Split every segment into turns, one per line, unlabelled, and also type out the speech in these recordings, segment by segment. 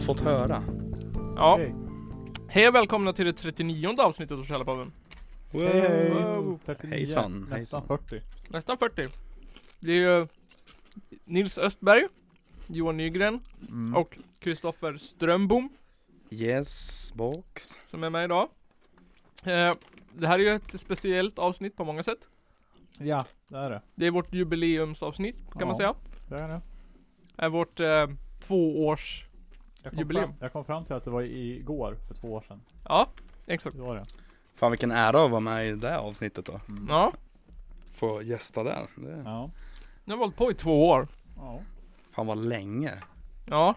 Fått höra.
Ja. Hej och välkomna till det 39 avsnittet av Källarpodden.
Wow.
Hej hej!
Wow.
39,
Hejsan,
nästan
hejsan.
40.
Nästan 40. Det är ju eh, Nils Östberg, Johan Nygren
Mm.
och Kristoffer Strömbom
Yes, box.
som är med idag. Eh, Det här är ju ett speciellt avsnitt på många sätt.
Ja, det är det.
Det är vårt jubileumsavsnitt kan man
Ja.
säga.
det, är det.
Det är vårt eh, tvåårs...
Jag, kom
Jubileum.
fram, jag kom fram till att det var i- igår, för två år sedan.
Ja, exakt.
Det var det.
Fan vilken ära att vara med i det här avsnittet då.
Mm.
Ja,
Få gästa där. Det,
Ja.
nu har vi hållit på i två år.
ja.
fan vad länge.
Ja.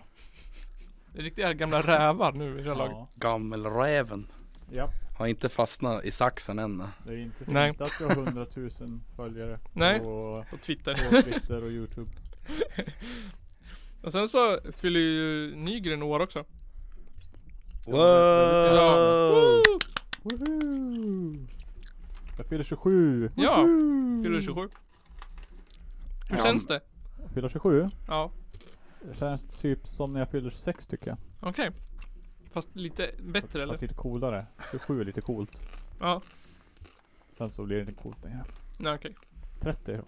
Det är Riktiga gamla rävar nu i det här laget.
Ja.
Gammelräven.
Ja,
Har inte fastnat i saxen än.
det är inte för
Nej.
inte att vi har 100 000 följare
Nej.
på,
På Twitter.
på Twitter och Youtube.
Och sen så fyller ju Nygren år också.
Wow!
Ja. Woo!
Woohoo! Jag fyller 27.
Ja,
Woohoo!
Fyller 27. Hur
Ja,
känns det?
Jag fyller 27?
Ja,
Det känns typ som när jag fyller 26 tycker jag.
okej. Fast lite bättre eller?
Fast lite coolare. 27 är lite coolt.
Ja,
Sen så blir det inte coolt längre.
nej okej.
30 då.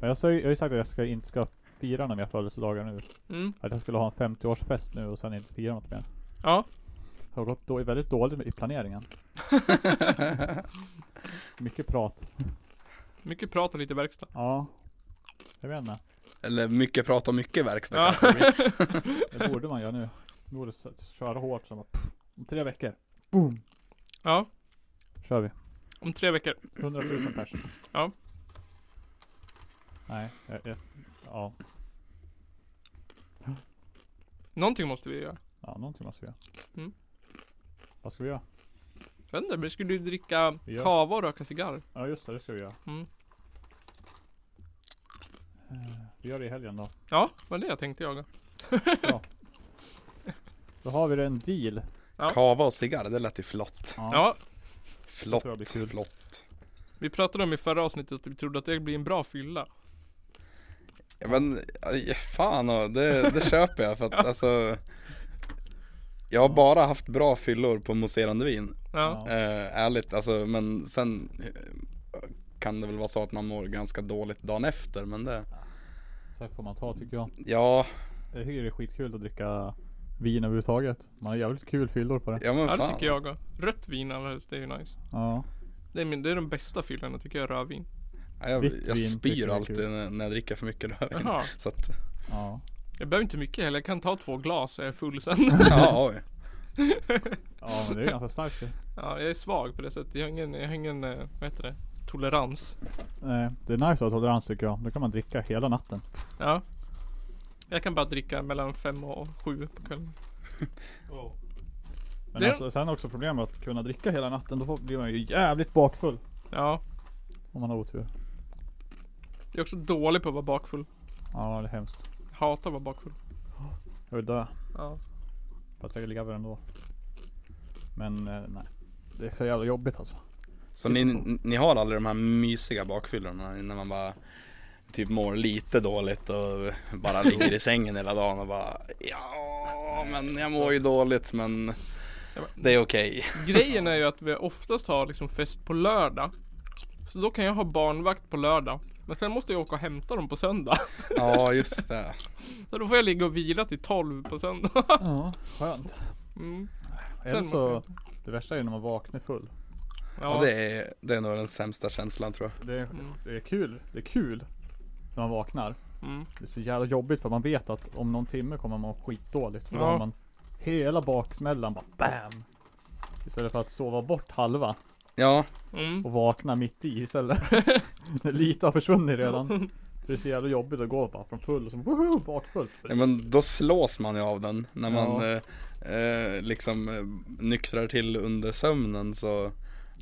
Men jag, sa, ju- jag har ju sagt att jag ska, inte ska fira några mer födelsedagar nu.
Mm,
Att jag skulle ha en 50-årsfest nu och sen inte fira något mer.
ja.
Har gått då, väldigt dåligt med- i planeringen. Mycket prat.
Mycket prat och lite verkstad.
Ja. Jag vet inte.
Eller mycket prat och mycket verkstad
Ja.
kanske.
Det borde man göra nu. Man borde s- köra hårt så bara, pff, Om tre veckor. Boom.
Ja,
Kör vi.
om tre veckor.
100 000 pers.
Ja.
Nej. Jag, jag, ja.
Någonting måste vi göra.
Ja, någonting måste vi göra.
Mm.
Vad ska vi göra?
Jag vet inte, vi skulle ju dricka
Ja.
kava och röka cigarr.
Ja just det, det ska vi göra.
Mm.
Eh, Vi gör det i helgen då.
Ja, vad det jag tänkte jag.
Då har vi en deal.
Ja.
Kava och cigarr, det lät ju flott.
Ja,
Flott,
tror jag blir kul.
flott.
vi pratade om i förra avsnittet att vi trodde att det blir en bra fylla.
Ja, Men aj, fan, och det, det köper jag för att alltså Jag har bara haft bra fyllor på mousserande vin
Ja,
eh, Ärligt alltså men sen eh, Kan det väl vara så att man mår ganska dåligt dagen efter men det
Så här får man ta tycker jag.
Ja,
Jag tycker det är skitkul att dricka vin överhuvudtaget. Man har jävligt kul fyllor på det.
ja men
ja det
fan
tycker jag. Rött vin allra helst, det är ju nice.
Ja.
Det är, min, det är de bästa fyllorna tycker jag, rödvin.
Ja, jag,
Vitt
jag,
vin tycker
spyr
jag är
alltid
kul.
när, när jag dricker för mycket rödvin
Jaha.
Så att,
Ja.
Jag behöver inte mycket heller, jag kan ta två glas så är jag full sen.
ja oj
Ja men det är ganska starkt ju.
Ja, jag är svag på det sättet. Jag har ingen, jag har ingen eh, vad heter det, tolerans.
Eh, Det är nice att ha tolerans tycker jag. Då kan man dricka hela natten.
Ja. Jag kan bara dricka mellan fem och sju på kvällen.
Men
Det-
alltså, sen också problem med att kunna dricka hela natten. Då får- blir man ju jävligt bakfull.
Ja,
Om man har otur.
jag är också dålig på att vara bakfull.
Ja det är hemskt.
Hatar att vara bakfull.
Jag vill dö.
Ja.
Fast jag lever ändå. Men eh, nej. Det är så jävla jobbigt alltså.
Så ni, ni har aldrig de här mysiga bakfyllorna när man bara typ mår lite dåligt och bara ligger i sängen hela dagen och bara ja men jag mår ju dåligt men
Jag
det är okej.
bara- Grejen är ju att vi oftast har liksom fest på lördag. Så då kan jag ha barnvakt på lördag. Men sen måste jag åka och hämta dem på söndag.
Ja just det.
Så då får jag ligga och vila till 12 på söndag.
Ja, skönt.
Mm.
Eller
måste
så,
jag-
det värsta är när man vaknar full.
Ja,
Ja,
det, är, det är nog den sämsta känslan tror jag.
Det är,
Mm.
det är kul, det är kul när man vaknar.
Mm.
Det är så jävla jobbigt för man vet att om någon timme kommer man må skitdåligt. För då
Ja.
har man hela baksmällan bara BAM! Istället för att sova bort halva
Ja,
Mm.
och vakna mitt i istället. När Lite har försvunnit redan. Det är så jävla jobbigt att gå bara från full och så woho, bakfull.
ja, men då slås man ju av den när man
Ja.
eh, eh, liksom eh, nyktrar till under sömnen så,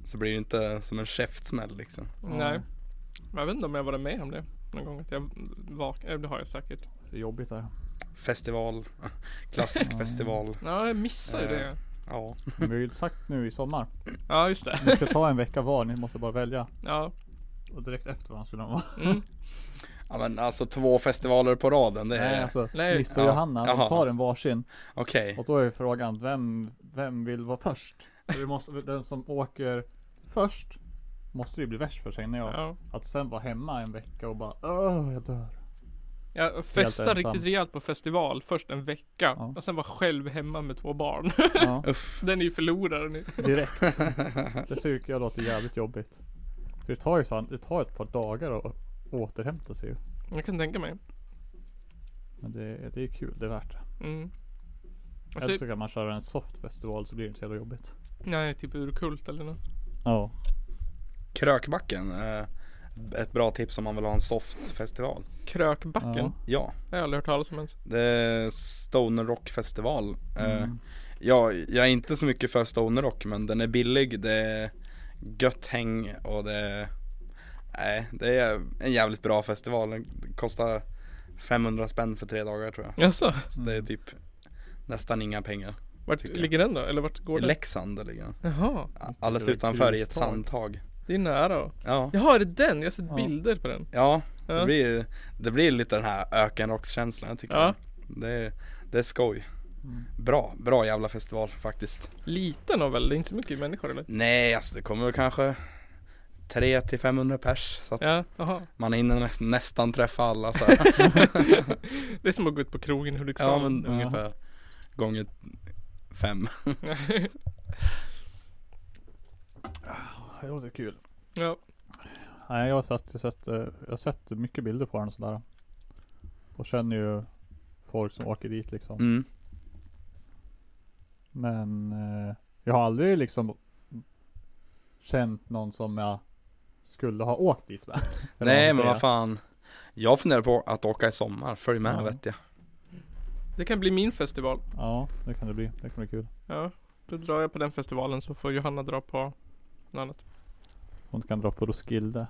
så blir det inte som en käftsmäll liksom.
Nej. Men jag vet inte om jag varit med om det någon gång. Att jag vaknade. Det har jag säkert.
Det är jobbigt där.
Festival, klassisk
Ja.
festival.
Ja, jag missar ju
Eh.
det.
Ja.
Men vi har ju sagt nu i sommar.
Ja, just det.
Ni ska ta en vecka var, ni måste bara välja.
Ja.
Och direkt efter varandra skulle de vara.
Mm.
Ja men alltså två festivaler på raden, det
Nej
är...
alltså,
Nej.
Nisse och
Ja.
Johanna,
Jaha.
de tar en varsin.
Okej.
Och då är frågan, vem, vem vill vara först? För det måste, den som åker först måste ju bli värst för sig när jag.
Ja.
Att sen vara hemma en vecka och bara öh, jag dör.
Jag festade
ensam.
riktigt rejält på festival först en vecka
Ja.
och sen var själv hemma med två barn.
Ja,
Uff.
Den är ju förloraren. i-
direkt. Det tycker jag låter jävligt jobbigt. För det tar ju så, det tar ett par dagar att återhämta sig ju.
Jag kan tänka mig.
Men det, det är kul, det är värt det.
Mm. Alltså,
Eller så kan man köra en soft festival så blir det inte så jävla jobbigt.
nej, typ urkult eller något.
Ja.
Krökbacken. eh, Ett bra tips om man vill ha en soft festival.
Krökbacken.
Ja.
Ja,
Det har jag aldrig hört talas om ens.
det är Stoner Rock festival. Eh,
Mm.
Ja, jag är inte så mycket för stoner rock men den är billig, det är gött häng och det Nej, det är en jävligt bra festival. Den kostar 500 spänn för tre dagar tror jag.
Jaså?
Så det är typ nästan inga pengar.
Vart
Tycker jag.
ligger den då? Eller vart går
I
den?
Leksand ligger den.
Jaha,
Alldeles
Det är
utanför i ett
grustag.
sandtag.
det är nära.
Ja,
Jaha, är det den? Jag har sett
Ja.
bilder på den.
ja det
Ja.
blir, ju- det blir lite den här ökenrockskänslan jag tycker.
Ja.
Det, är, det är skoj.
Mm.
Bra, bra jävla festival faktiskt.
Liten och väl? Det är inte så mycket människor eller?
Nej, alltså det kommer väl kanske 3 till 500 pers. Så att
Ja, jaha.
Man hinner näst, nästan träffa alla så här.
Det är som att gå ut på krogen i Hudiksvall.
Ja men
Ja.
ungefär gånger fem.
Det låter kul.
ja.
Nej jag har faktiskt sett, eh, jag har sett mycket bilder på den och sådär. Och känner ju folk som åker dit liksom.
Mm.
Men eh, jag har aldrig liksom känt någon som jag skulle ha åkt dit med. Eller vad
Nej
man
men
säger.
vad fan. Jag funderar på att åka i sommar, följ med
Ja.
vet jag.
Det kan bli min festival.
Ja, det kan det bli. Det kan bli kul.
Ja, då drar jag på den festivalen så får Johanna dra på något annat.
Hon kan dra på Roskilde.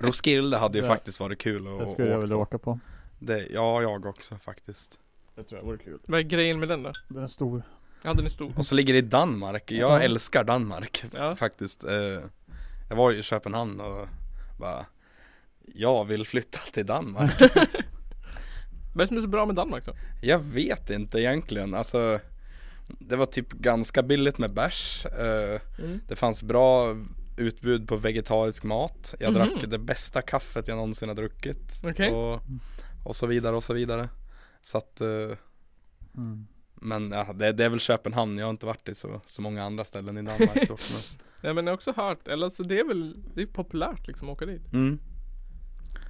Roskilde hade ju
Det-
faktiskt varit kul
Det
att
skulle jag
åka
vilja
på.
åka på.
Det, ja, jag också faktiskt.
Det tror jag vore kul.
Vad är grejen med den då?
Den är stor.
Ja, den är stor.
Och så ligger det i Danmark, jag
Ja.
älskar Danmark
Ja.
faktiskt. Eh, Jag var ju i Köpenhamn och bara jag vill flytta till Danmark.
Vad är det som är så bra med Danmark då?
Jag vet inte egentligen, alltså Det var typ ganska billigt med bärs eh,
Mm.
Det fanns bra utbud på vegetarisk mat Jag
Mhm.
drack det bästa kaffet jag någonsin har druckit
Okej.
och, och så vidare och så vidare Så att eh,
Mm.
Men ja, det, det är väl Köpenhamn, jag har inte varit i så, så många andra ställen i Danmark dock, men-
Nej men jag har också hört, eller alltså det är väl, det är populärt liksom att åka dit.
mm.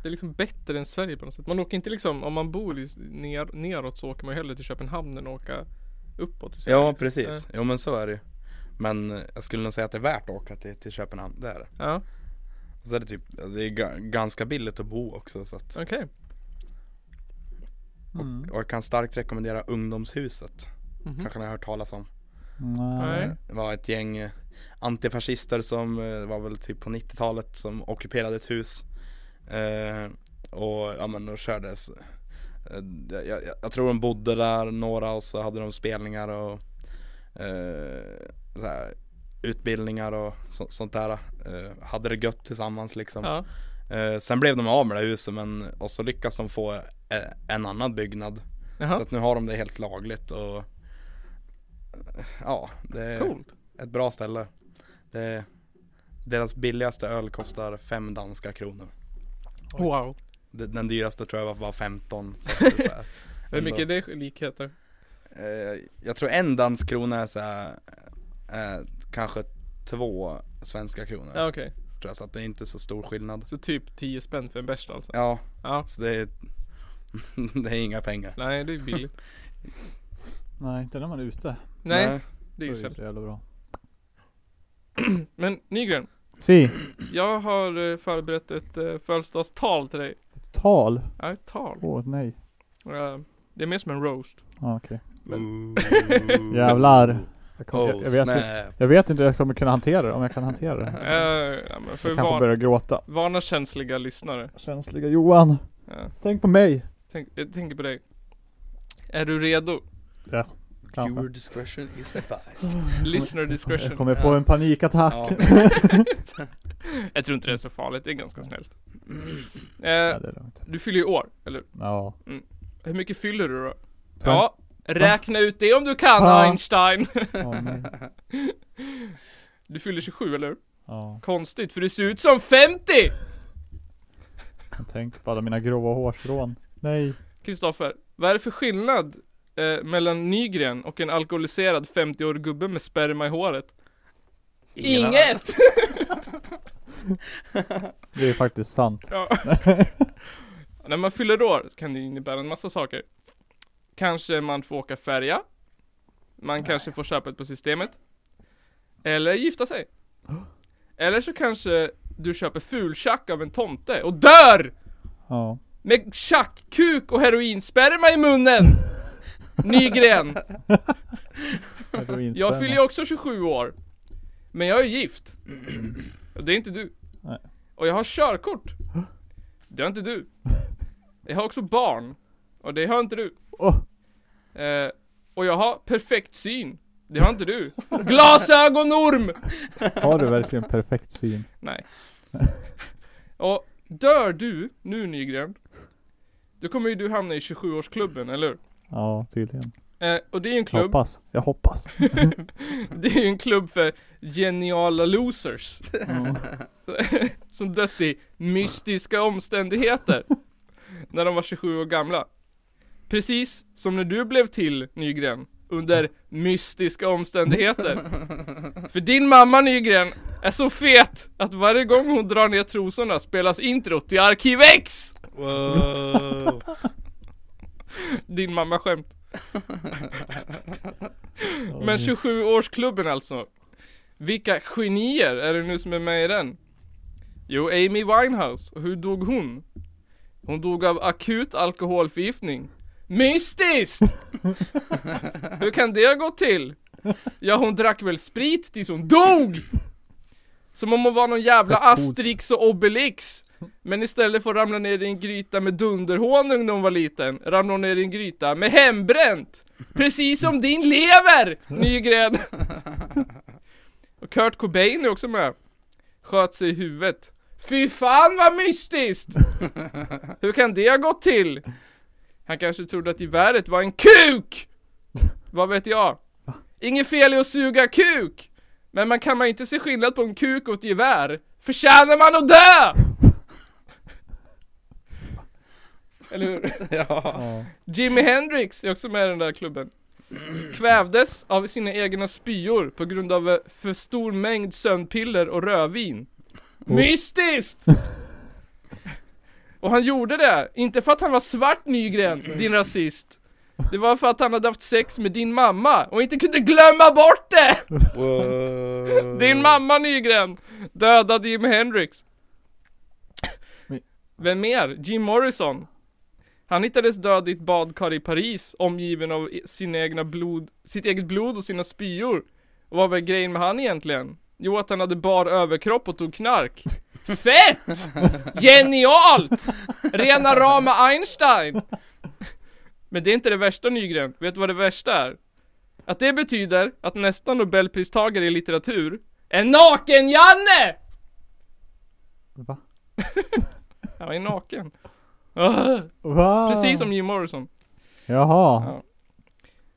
Det är liksom bättre än Sverige på något sätt. Man åker inte liksom, om man bor i, ner, neråt så åker man ju hellre till Köpenhamn än att åka uppåt. i Sverige.
Ja precis, jo men så är det ju Men eh, jag skulle nog säga att det är värt att åka till, till Köpenhamn, det är det
Ja,
Och så är det typ, det är ga- ganska billigt att bo också så att
okej.
Mm.
Och jag kan starkt rekommendera Ungdomshuset.
Mhm.
Kanske ni har hört talas om.
Nej.
Nej.
Det var ett gäng eh, antifascister som eh, det var väl typ på 90-talet som ockuperade ett hus. Eh, och ja men de körde. s- eh, Jag, jag, jag tror de bodde där några och så hade de spelningar och eh, så här, utbildningar och så, sånt där. Eh, hade det gött tillsammans liksom.
Ja,
Eh, sen blev de av med det här huset men och så lyckas de få eh, en annan byggnad. Så
jaha,
att nu har de det helt lagligt och Ja, det är
coolt.
ett bra ställe. Det är, deras billigaste öl kostar fem danska kronor.
Wow.
Den, den dyraste tror jag var- var 15. Så att det är så här.
Hur mycket är det likheter?
Eh, jag tror en dansk krona är så här, eh, kanske två svenska kronor.
Ja okej,
Tror jag, så att det är inte så stor skillnad.
så typ 10 spänn för en bärs alltså?
Ja,
Ja.
så det är, det är inga pengar.
Nej det är billigt.
Nej, inte när man är ute.
Nej, det är
Då
ju
är det
sämst.
så jävla bra.
Men Nygren,
Si,
jag har eh, förberett ett eh, födelsedagstal till dig.
tal.
Ja, ett tal.
Åh nej.
Eh, Det är mer som en roast.
Ja, okej.
Ooh.
Jävlar. Jag, kommer, jag,
Oh
jag, vet, inte-
snap.
jag vet inte hur jag kommer kunna hantera det, om jag kan hantera det.
Eh, ja, men för
Jag kanske
van,
börjar gråta.
vana känsliga lyssnare.
Känsliga Johan,
Ja, eh,
tänk på mig.
tänk, jag tänker på dig. Är du redo?
Ja. Kanske.
Your discretion is advised.
Listener
Jag
discretion.
kommer få en panikattack.
Ja.
Jag tror inte det är så farligt, det är ganska snällt.
Nej,
Eh,
det är lugnt.
du fyller ju år, eller hur?
Ja.
Hur mycket fyller du då?
Twen-
Ja, räkna ut det om du kan
Ja.
Einstein.
Åh, nej.
Du fyller 27, eller hur?
Ja.
Konstigt, för du ser ut som 50!
Jag tänker på alla mina gråa hårstrån. Nej.
Kristoffer, vad är det för skillnad eh, mellan Nygren och en alkoholiserad 50-årig gubbe med sperma i håret?
Ingen annan.
Inget!
Det är ju faktiskt sant.
Ja. När man fyller år kan det innebära en massa saker. Kanske man får åka färja. Man kanske får köpa ett på systemet. Eller gifta sig. Eller så kanske du köper fultjack av en tomte och dör!
Ja.
Med tjackkuk och heroinsperma i munnen! Nygren! Jag fyller ju också 27 år. Men jag är gift. Och det är inte du.
Nej.
Och jag har körkort. Det har inte du. Jag har också barn. Och det har inte du.
Åh,
Eh, och jag har perfekt syn. Det har inte du. Glasögonorm!
har du verkligen perfekt syn?
Nej. Och dör du nu Nygren, då kommer ju du hamna i 27-årsklubben, eller hur?
Ja, tydligen.
Eh, och det är ju en
Jag
klubb,
hoppas. Jag hoppas.
det är ju en klubb för geniala losers.
Ja.
som dött i mystiska omständigheter när de var 27 år gamla. Precis som när du blev till Nygren under mystiska omständigheter. För din mamma Nygren är så fet att varje gång hon drar ner trosorna spelas introt till Arkiv X!
Wow.
Din mamma skämt. Men 27-årsklubben alltså. Vilka genier är det nu som är med i den? Jo, Amy Winehouse. Och hur dog hon? Hon dog av akut alkoholförgiftning. Mystiskt! hur kan det gå till? Ja, hon drack väl sprit tills hon DOG! Som om hon var någon jävla Asterix och Obelix. Men istället för att ramla ner i en gryta med dunderhonung när hon var liten, ramlade hon ner i en gryta med hembränt! Precis som din lever, Nygren! Och Kurt Cobain är också med. Sköt sig i huvudet. Fy fan vad mystiskt! Hur kan det ha gått till? Han kanske trodde att geväret var en kuk! Vad vet jag? Inget fel i att suga kuk! Men man kan man inte se skillnad på en kuk och ett gevär? Förtjänar man att dö! Eller hur?
ja.
Ja.
Jimi Hendrix är också med i den där klubben. Kvävdes av sina egna spyor på grund av eh, för stor mängd sömnpiller och rödvin. Mystiskt! Och han gjorde det, inte för att han var svart Nygren, din rasist. Det var för att han hade haft sex med din mamma och inte kunde glömma bort det!
Wow.
Din mamma Nygren dödade Jimi Hendrix.
Men-
Vem mer? Jim Morrison. Han hittades död i ett badkar i Paris, omgiven av i- sina egna blod, sitt eget blod och sina spyor. Och vad var grejen med han egentligen? Jo, att han hade bar överkropp och tog knark. Fett! Genialt! Rena rama Einstein! Men det är inte det värsta Nygren, vet du vad det värsta är? Att det betyder att nästa nobelpristagare i litteratur är Naken-Janne!
Va?
Han var ju naken. Ah,
Va?
Precis som Jim Morrison.
Jaha.
Ja.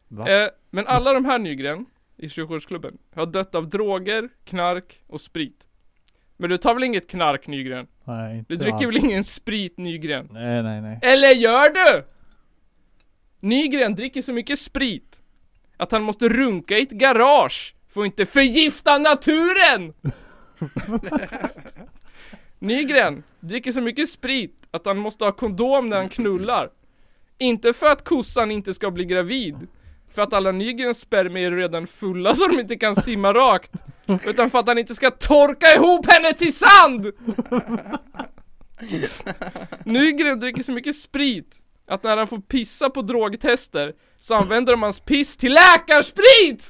Va?
Eh, men alla de här Nygren i 27-årsklubben har dött av droger, knark och sprit. Men du tar väl inget knark Nygren?
Nej, inte
Du dricker
alls.
väl ingen sprit Nygren?
Nej, nej, nej.
Eller gör du? Nygren dricker så mycket sprit att han måste runka i ett garage för att inte förgifta naturen! Nygren dricker så mycket sprit att han måste ha kondom när han knullar. Inte för att kossan inte ska bli gravid, för att alla Nygrens spermier är redan fulla så de inte kan simma rakt, utan för att han inte ska torka ihop henne till sand! Nygren dricker så mycket sprit att när han får pissa på drogtester så använder de hans piss till läkarsprit!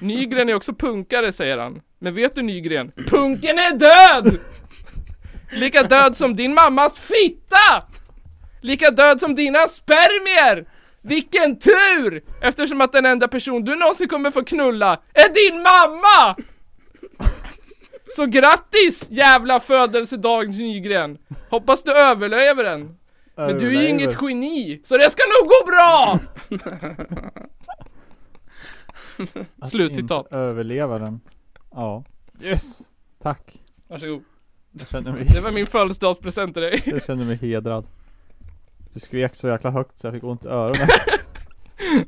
Nygren är också punkare säger han. Men vet du Nygren? Punken är död! Lika död som din mammas fitta! Lika död som dina spermier! Vilken tur! Eftersom att den enda person du någonsin kommer få knulla är din mamma! Så grattis jävla födelsedag Nygren! Hoppas du överlever den! Men du är ju inget geni, så det ska nog gå bra!
Att
Slutcitat.
inte Överleva den. Ja. Yes! Tack.
Varsågod.
Jag känner mig,
Det var min födelsedagspresent till dig.
jag känner mig hedrad. Du skrek så jäkla högt så jag fick ont i öronen.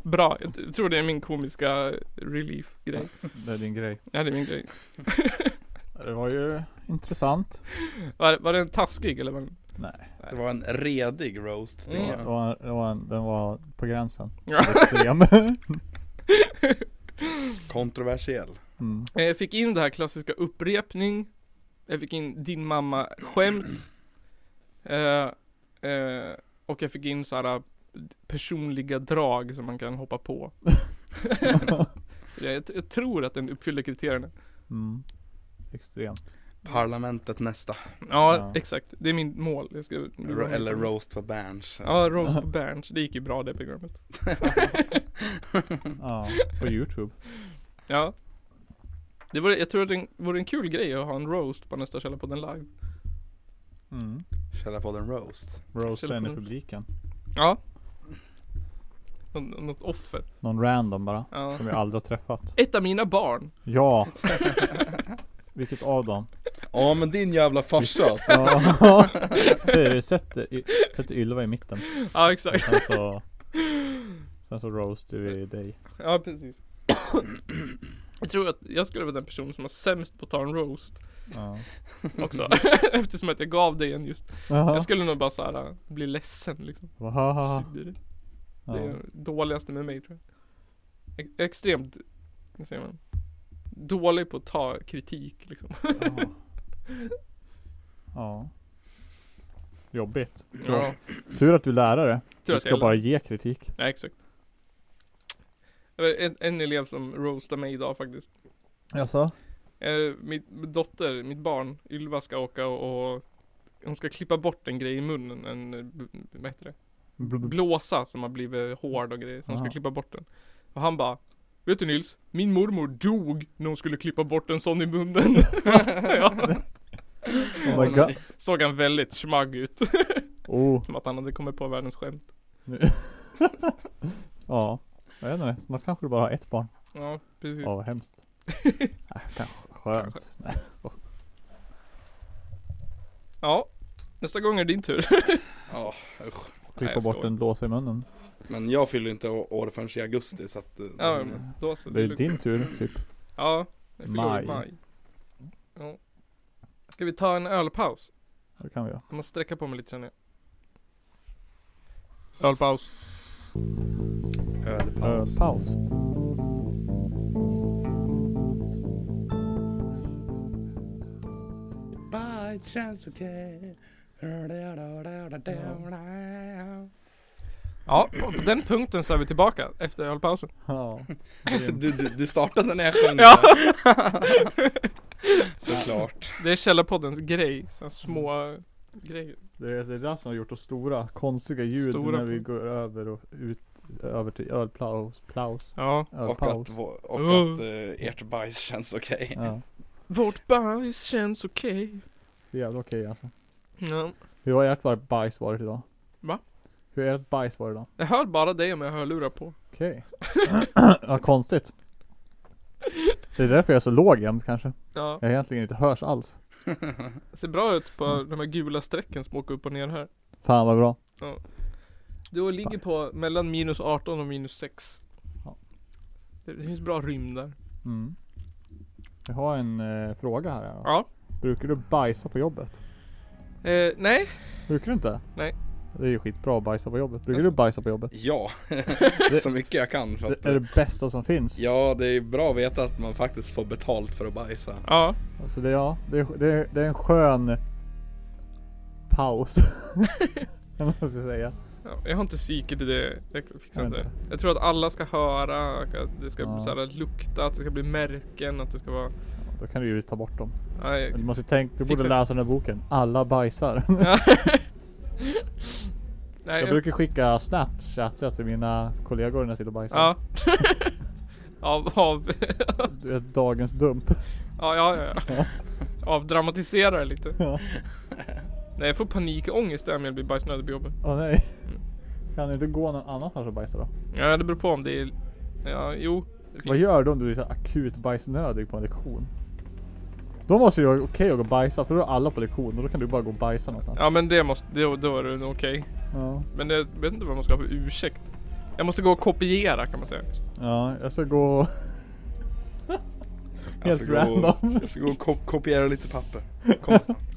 Bra, jag t- tror det är min komiska relief-grej.
det är din grej.
Ja, det är min grej.
Det var ju intressant.
Var, var den taskig eller? Var...
Nej.
Det var en redig roast tycker
Mm.
Det
jag.
var, det var en, den var på gränsen.
Ja.
Extrem.
Kontroversiell.
mm.
Eh, Jag fick in det här klassiska upprepning Jag fick in din mamma skämt eh, eh, Och jag fick in såhär personliga drag som man kan hoppa på jag, jag tror att den uppfyller kriterierna
Mm. Extremt.
Parlamentet nästa.
ja,
Ja.
exakt, det är min mål jag ska,
Ro- eller roast på Berns.
Mm. Ja, Rose på Berns, det gick ju bra det programmet
Ja, på youtube.
Ja det vore, jag tror att det vore en kul grej att ha en roast på nästa Källarpodden live
Mm.
Källarpodden roast.
Roasta in i
Källarpodden.
publiken.
Ja Nå- Något offer
Någon random bara.
ja.
Som jag aldrig har träffat.
Ett av mina barn
Ja! Vilket av dem?
Ja men din jävla farsa alltså.
Ja. Säger du, Sätt, i- sätt Ylva i mitten.
Ja
Och
exakt,
Sen så, sen så roastar vi dig.
ja precis Jag tror att jag skulle vara den personen som var sämst på att ta en roast
Ja.
också Eftersom att jag gav dig en just Jag skulle nog bara såhär äh, bli ledsen liksom
Vahaha.
Sur Det är
Ja.
det dåligaste med mig tror jag Ex- Extremt, vad säger man? Dålig på att ta kritik liksom
Ja. ja. Jobbigt.
Ja,
Tur att du är lärare.
tur
Du
att
ska
jag
bara ge kritik.
Ja exakt Det var en, en elev som roastade mig idag faktiskt
Jaså?
Eh, mitt min dotter, mitt barn, Ylva ska åka och, och hon ska klippa bort en grej i munnen, en, eh, b- b- vad heter det? Blåsa som har blivit hård och grejer, så hon ska
Aha.
klippa bort den. Och han bara Vet du Nils, min mormor dog när hon skulle klippa bort en sån i munnen. Så, ja.
Oh my god.
Såg han väldigt smagg ut.
Oh.
Som att han hade kommit på världens skämt.
Ja. Jag vet inte. Snart kanske du bara har ett barn.
Ja, precis.
Ja, vad hemskt. Äh, kanske. Skönt. Nej.
Ja, nästa gång är det din tur.
Ja, usch.
Klippa
jag
bort
skojar.
en blåsa i munnen.
Men jag fyller inte å- år förrän i augusti så att eh,
Ja, men då så.
Det är
lugnt.
din tur typ.
Ja, jag fyller år i
Maj.
maj. Ja. Ska vi ta en ölpaus?
Det kan vi göra.
Jag måste sträcka på mig lite känner jag. Ölpaus.
Ö,
ölpaus.
paus.
Bara det känns okej.
Ja, och på den punkten så är vi tillbaka efter ölpausen.
Ja.
Du, du, du startade när jag sjöng
Ja.
Såklart.
Det är Källarpoddens grej, såna små grejer.
Det är det är det som har gjort oss stora, konstiga ljud
Stora
när vi
på-
går över och ut över till ölplaus, plaus,
Ja.
Och att,
ölpaus.
vå-
Oh.
och att eh, ert bajs känns okej.
Ja,
Vårt bajs känns okej.
så jävla okej alltså.
Ja.
Hur har ert var- bajs varit idag?
Va?
Hur har ert bajs varit idag?
Jag hör bara dig om jag har hörlurar på.
Okej. ja, konstigt. Det är därför jag är så låg jämt kanske.
Ja,
Jag egentligen inte hörs alls.
ser bra ut på de här gula strecken som åker upp och ner här.
Fan vad bra.
Du ligger på mellan minus 18 och minus 6.
Ja.
Det finns bra rymd där.
Mm. Jag har en eh, fråga här. Då.
Ja.
Brukar du bajsa på jobbet?
Eh, nej,
Brukar du inte?
Nej.
Det är ju skitbra att bajsa på jobbet. Brukar
Alltså-
du bajsa på jobbet?
Ja, så mycket jag kan för att eh,
Det är det bästa som finns.
Ja, det är bra att veta att man faktiskt får betalt för att bajsa.
Ja,
Alltså det, ja, det, är, det, är, det är en skön paus. Jag måste säga.
ja, jag har inte psyket i det. Jag fixar
Jag
inte
vet
det. Jag tror att alla ska höra, att det ska
Ja.
så här, lukta, att det ska bli märken, att det ska vara...
Då kan du ju ta bort dem.
Nej,
Men Du måste tänka, du
Fixa
borde
det.
läsa den här boken. Alla bajsar.
Ja. Nej,
Jag brukar skicka snapchat till mina kollegor när jag sitter och bajsar.
Ja. av, av,
Du vet, dagens dump.
ja, ja, ja, ja. Avdramatisera det lite.
Ja.
Nej, jag får panikångest när Emil blir bajsnödig på jobbet.
Åh nej. Kan du inte gå någon annanstans och bajsa då?
Ja, det beror på om det är... Ja, jo.
Vad gör du om du är så här akut bajsnödig på en lektion? Då måste det vara okej att gå och bajsa för då är alla på lektion och då kan du bara gå och bajsa någonstans.
Ja, men det måste... Då, då är det nog okej.
Ja.
Men jag vet inte vad man ska ha för ursäkt. Jag måste gå och kopiera kan man säga.
Ja, jag ska gå... Helt
ska gå och-
random.
Jag ska gå och ko- kopiera lite papper. Kom snart.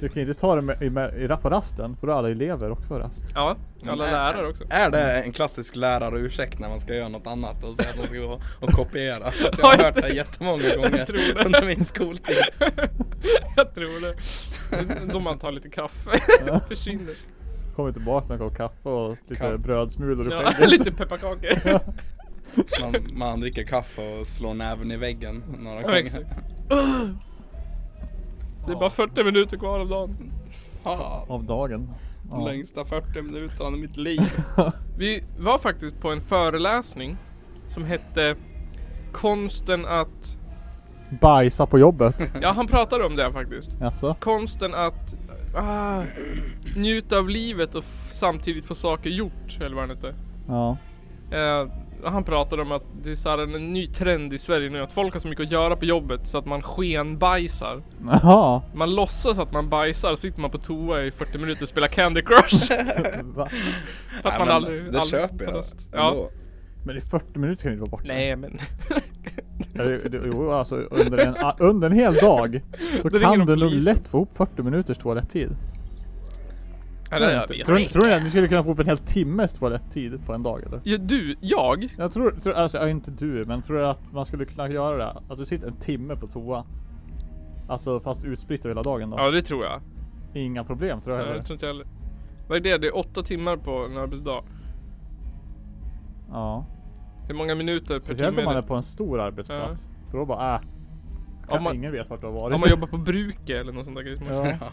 Du kan ju inte ta det med, i, med, i, på rasten för då är alla elever också rast.
Ja, alla
Men Äh, är-
lärare också.
Är det en klassisk lärarursäkt när man ska göra något annat och säga att man ska gå och kopiera? Jag
Ja,
har
jag-
hört det jättemånga
jag
gånger
tror det.
under min skoltid.
Jag tror det. Då man tar lite kaffe. Försvinner.
Kommer tillbaka med en kopp kaffe och lite
Ka-
brödsmulor i
Ja,
skägget.
lite pepparkakor.
Man, man dricker kaffe och slår näven i väggen några
Ja, exakt.
gånger.
Det är bara 40 minuter kvar av dagen.
Fan,
Av dagen.
de längsta 40 minuterna av mitt liv.
Vi var faktiskt på en föreläsning som hette Konsten att...
Bajsa på jobbet.
Ja, han pratade om det faktiskt.
Jaså?
Konsten att ah, njuta av livet och f- samtidigt få saker gjort, eller vad han hette.
Ja.
Eh, han pratade om att det är så här en ny trend i Sverige nu att folk har så mycket att göra på jobbet så att man skenbajsar.
Jaha.
Man låtsas att man bajsar, sitter man på toa i 40 minuter och spelar Candy Crush.
Va?
För
Nej,
att man
men
aldrig,
det
aldrig
köper jag
fast- Ja.
ändå.
Men i 40 minuter kan du inte vara borta.
Nej men.
Eller, det- Jo alltså under en, a- under en hel dag. Då
ringer de
kan du nog
polisen.
lätt få ihop 40 minuters toalettid.
Ja, det, jag vet.
tror, tror ni att ni skulle kunna få ihop en hel timmes toalettid på en dag eller?
Ja, du, jag?
Jag tror, tror alltså ja, inte du, men tror du att man skulle kunna göra det? Att du sitter en timme på toa? Alltså fast utspritt över hela dagen då?
Ja det tror jag.
Inga problem tror jag
Nej,
heller.
jag tror inte heller. Vad är det? Det är åtta timmar på en arbetsdag.
Ja.
Hur många minuter per
Speciellt
timme?
om man
är
är
det?
på en stor arbetsplats. För då bara äh. Kan
man-
ingen vet vart du har varit.
Om man jobbar på bruket eller något sånt där grej.
ja.
Ja.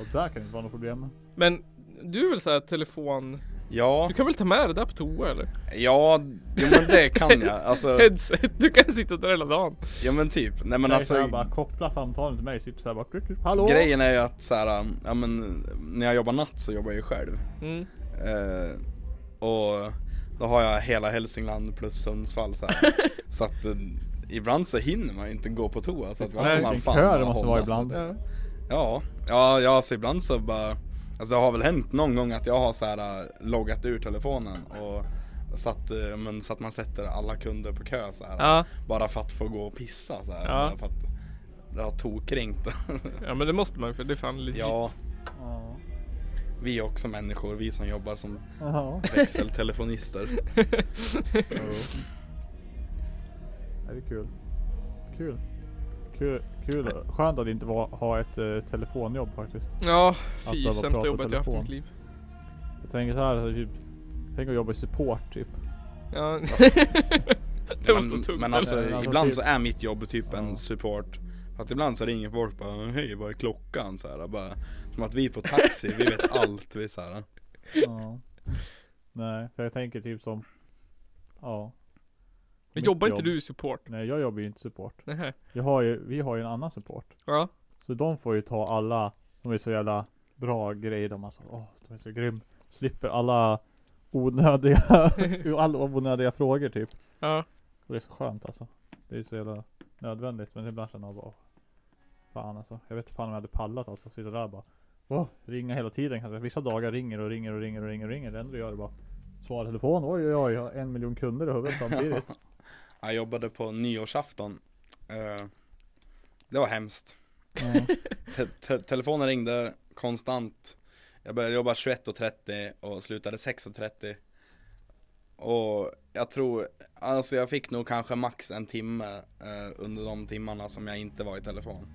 Och där kan det inte vara något problem.
Men du är väl såhär telefon...
Ja,
Du kan väl ta med det där på toa eller?
ja, jo, men det kan jag. Alltså,
Headset, du kan sitta där hela dagen.
ja men typ. Nej
Men
men
alltså.
alltså.
bara koppla samtalen till mig. Sitter såhär bara. Klick, klick, hallå?
Grejen är ju att så här, um, ja men när jag jobbar natt så jobbar jag ju själv.
Mm.
Eh, och då har jag hela Hälsingland plus Sundsvall så här. Så att eh, ibland så hinner man ju inte gå på toa så att
Nej,
man får man
vilken
fan alltså.
kö det
bara
måste
hålla sig
vara ibland.
till- Ja, ja, ja alltså ibland så bara Alltså det har väl hänt någon gång att jag har så här eh, loggat ur telefonen och satt, eh, men så att man sätter alla kunder på kö så här.
Ja.
Bara för att få gå och pissa så här.
Ja.
Bara för att det har tokringt.
ja men det måste man ju för det är fan legit.
ja,
Ja.
vi är också människor, vi som jobbar som
Ja.
växeltelefonister.
Det är kul. Kul. Kul. Kul. Skönt att inte vara, ha ett eh, telefonjobb faktiskt.
Ja,
Att
fy
behöva
sämsta
prata
jobbet jag haft i
telefon.
mitt liv.
Jag tänker så här, alltså, typ, tänk att jobba i support typ.
Ja. det måste vara
Men,
tungt.
men alltså
Eller-
ibland så är mitt jobb typ en
Ja.
support För att ibland så ringer folk bara hej vad är klockan? Så här, bara, som att vi på taxi, vi vet allt vi så här.
Ja. Nej, för jag tänker typ som, ja.
men
mitt
jobbar inte
jobb.
du i support?
Nej jag jobbar ju inte support.
Nej.
Jag har ju, vi har ju en annan support.
Ja.
Så de får ju ta alla, de är så jävla bra grejer de alltså. Åh, de är så grym. Slipper alla onödiga, alla onödiga frågor typ.
Ja.
Och det är så skönt alltså. Det är så jävla nödvändigt. Men ibland känner jag bara, åh, fan alltså. Jag vet inte fan om jag hade pallat alltså. att Sitta där och bara, åh, ringa hela tiden kanske. Vissa dagar ringer och ringer och ringer och ringer och ringer. Det enda du gör är bara, svara i telefon. Oj oj oj, jag har en miljon kunder i huvudet samtidigt.
Jag jobbade på nyårsafton Eh, Det var hemskt
Ja.
te- te- Telefonen ringde konstant Jag började jobba 21.30 och slutade 6.30 Och jag tror, alltså jag fick nog kanske max en timme eh, under de timmarna som jag inte var i telefon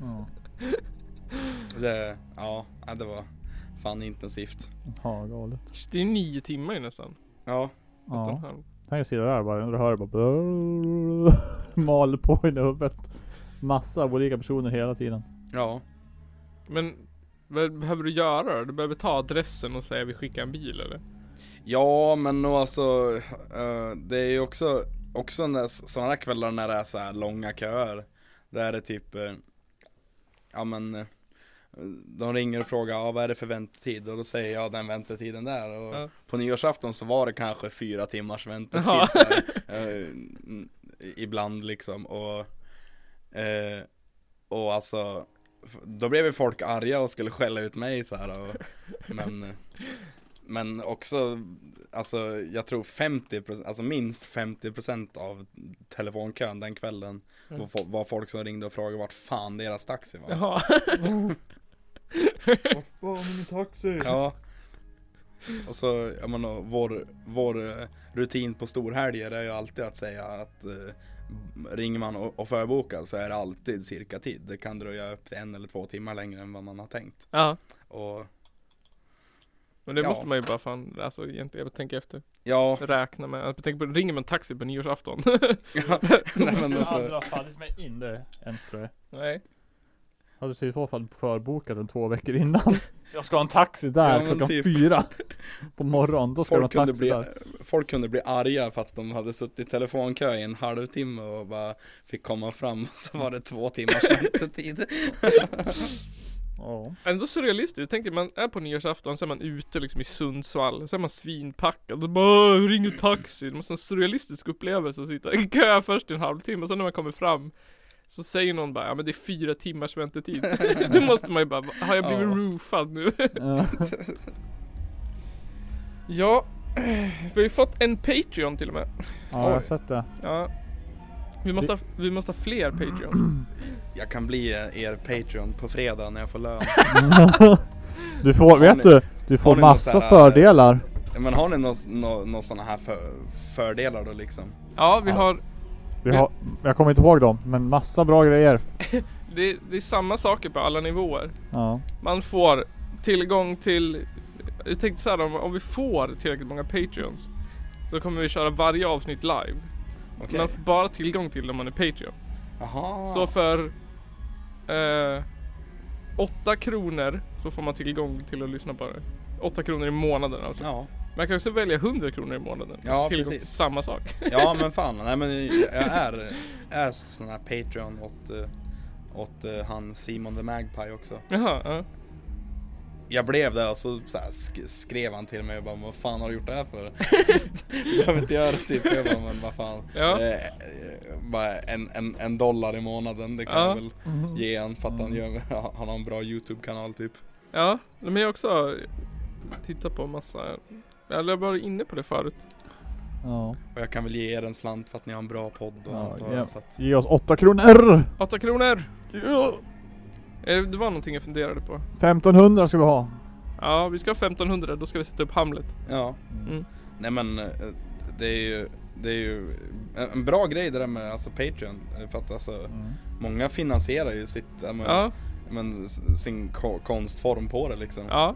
Ja.
Det, ja, ja, det var fan intensivt.
Ja, galet.
Det är ju nio timmar ju nästan.
Ja,
Ett och en
Ja.
halv.
Tänk att sitta där bara, och höra bara, mal på i huvudet. Massa olika personer hela tiden.
ja.
Men Vad behöver du göra då? Du behöver ta adressen och säga vi skickar en bil eller?
Ja men och alltså eh, Det är ju också, också när- sådana där kvällar när det är så här långa köer Där är typ eh, Ja men eh, De ringer och frågar ja, vad är det för väntetid och då säger jag den väntetiden där och
Ja.
På nyårsafton så var det kanske fyra timmars väntetid
Ja.
så här, eh, mm, Ibland liksom och eh, Och alltså f- Då blev ju folk arga och skulle skälla ut mig så här och, Men men också, alltså jag tror 50%, alltså minst 50% av telefonkön den kvällen
Mm.
var, fo- var folk som ringde och frågade vart fan deras taxi var. Ja.
Jaha.
Vart var min taxi?
Och så, jag menar, vår, vår eh, rutin på storhelger är ju alltid att säga att eh, ringer man och, och förbokar så är det alltid cirka tid. Det kan dröja upp till en eller två timmar längre än vad man har tänkt.
ja.
Och
Men det
Ja.
måste man ju bara fan, alltså egentligen, eller tänka efter.
ja,
Räkna med, jag tänker på, ringer man taxi på nyårsafton?
nej, men
Jag hade
alltså,
aldrig fallit mig in det ens tror jag.
Nej.
Hade så i så fall förbokat den två veckor innan. Jag ska ha en taxi där
Ja, men
klockan
typ.
fyra. På morgonen, då ska du ha
folk, kunde
taxi
bli,
där.
folk kunde bli arga fast de hade suttit i telefonkö i en halvtimme och bara fick komma fram och så var det två timmars väntetid.
Ja.
Ändå surrealistiskt, tänk dig man är på nyårsafton, så är man ute liksom i Sundsvall, så är man svinpackad och bara "Åh, ring en taxi. Det måste vara en surrealistisk upplevelse att sitta i kö först i en halvtimme och sen när man kommer fram så säger någon bara ja men det är fyra timmars väntetid. Då måste man ju bara, har jag blivit
Ja.
roofad nu?
Eh,
Ja, vi har ju fått en Patreon till och med.
ja, jag har
Oj.
sett det.
Ja. Vi måste, ha, vi måste ha fler Patreons.
Jag kan bli eh, er Patreon på fredag när jag får lön.
Du får,
ni-
vet du? Du
har
får
ni något
massa
sådär-
fördelar.
Men har ni några sådana här för, fördelar då liksom?
Ja, vi har
Vi har, jag kommer inte ihåg dem, men massa bra grejer.
Det, det är samma saker på alla nivåer.
Ja.
Man får tillgång till... Jag tänkte så här, om, om vi får tillräckligt många Patreons så kommer vi köra varje avsnitt live.
Okej.
Man får bara tillgång till dem om man är Patreon.
Jaha.
Så för... Eh, 8 kronor så får man tillgång till att lyssna på det. 8 kronor i månaden alltså.
Ja.
Man kan också välja 100 kronor i månaden.
Ja,
tillgång
precis.
till samma sak.
ja men fan, nej men jag är, är sån här Patreon åt, eh, åt eh, han Simon the Magpie också.
Jaha, ja.
Jag blev det och så, så här, sk- skrev han till mig och bara Vad fan har du gjort det här för? du behöver inte göra det typ Jag bara men vad fan
Ja.
eh, eh, Bara en, en, en dollar i månaden det kan
Ja. Mm.
jag väl ge han för att han, gör, han har en bra YouTube-kanal typ
Ja, men jag har också tittat på massa... Eller jag var inne på det förut.
Ja.
Och jag kan väl ge er en slant för att ni har en bra podd och
Ja,
allt vad
ja.
så att,
Ge oss 8 kronor!
8 kronor! Eh, Det var någonting jag funderade på.
1500 ska vi ha.
Ja, vi ska ha 1500, då ska vi sätta upp Hamlet.
Ja
Mm.
Nej men eh, det är ju det är ju en en bra grej det där med alltså Patreon eh, för att alltså många finansierar ju sitt, ja, men,
Ja,
men, s- sin ko- konstform på det liksom.
ja,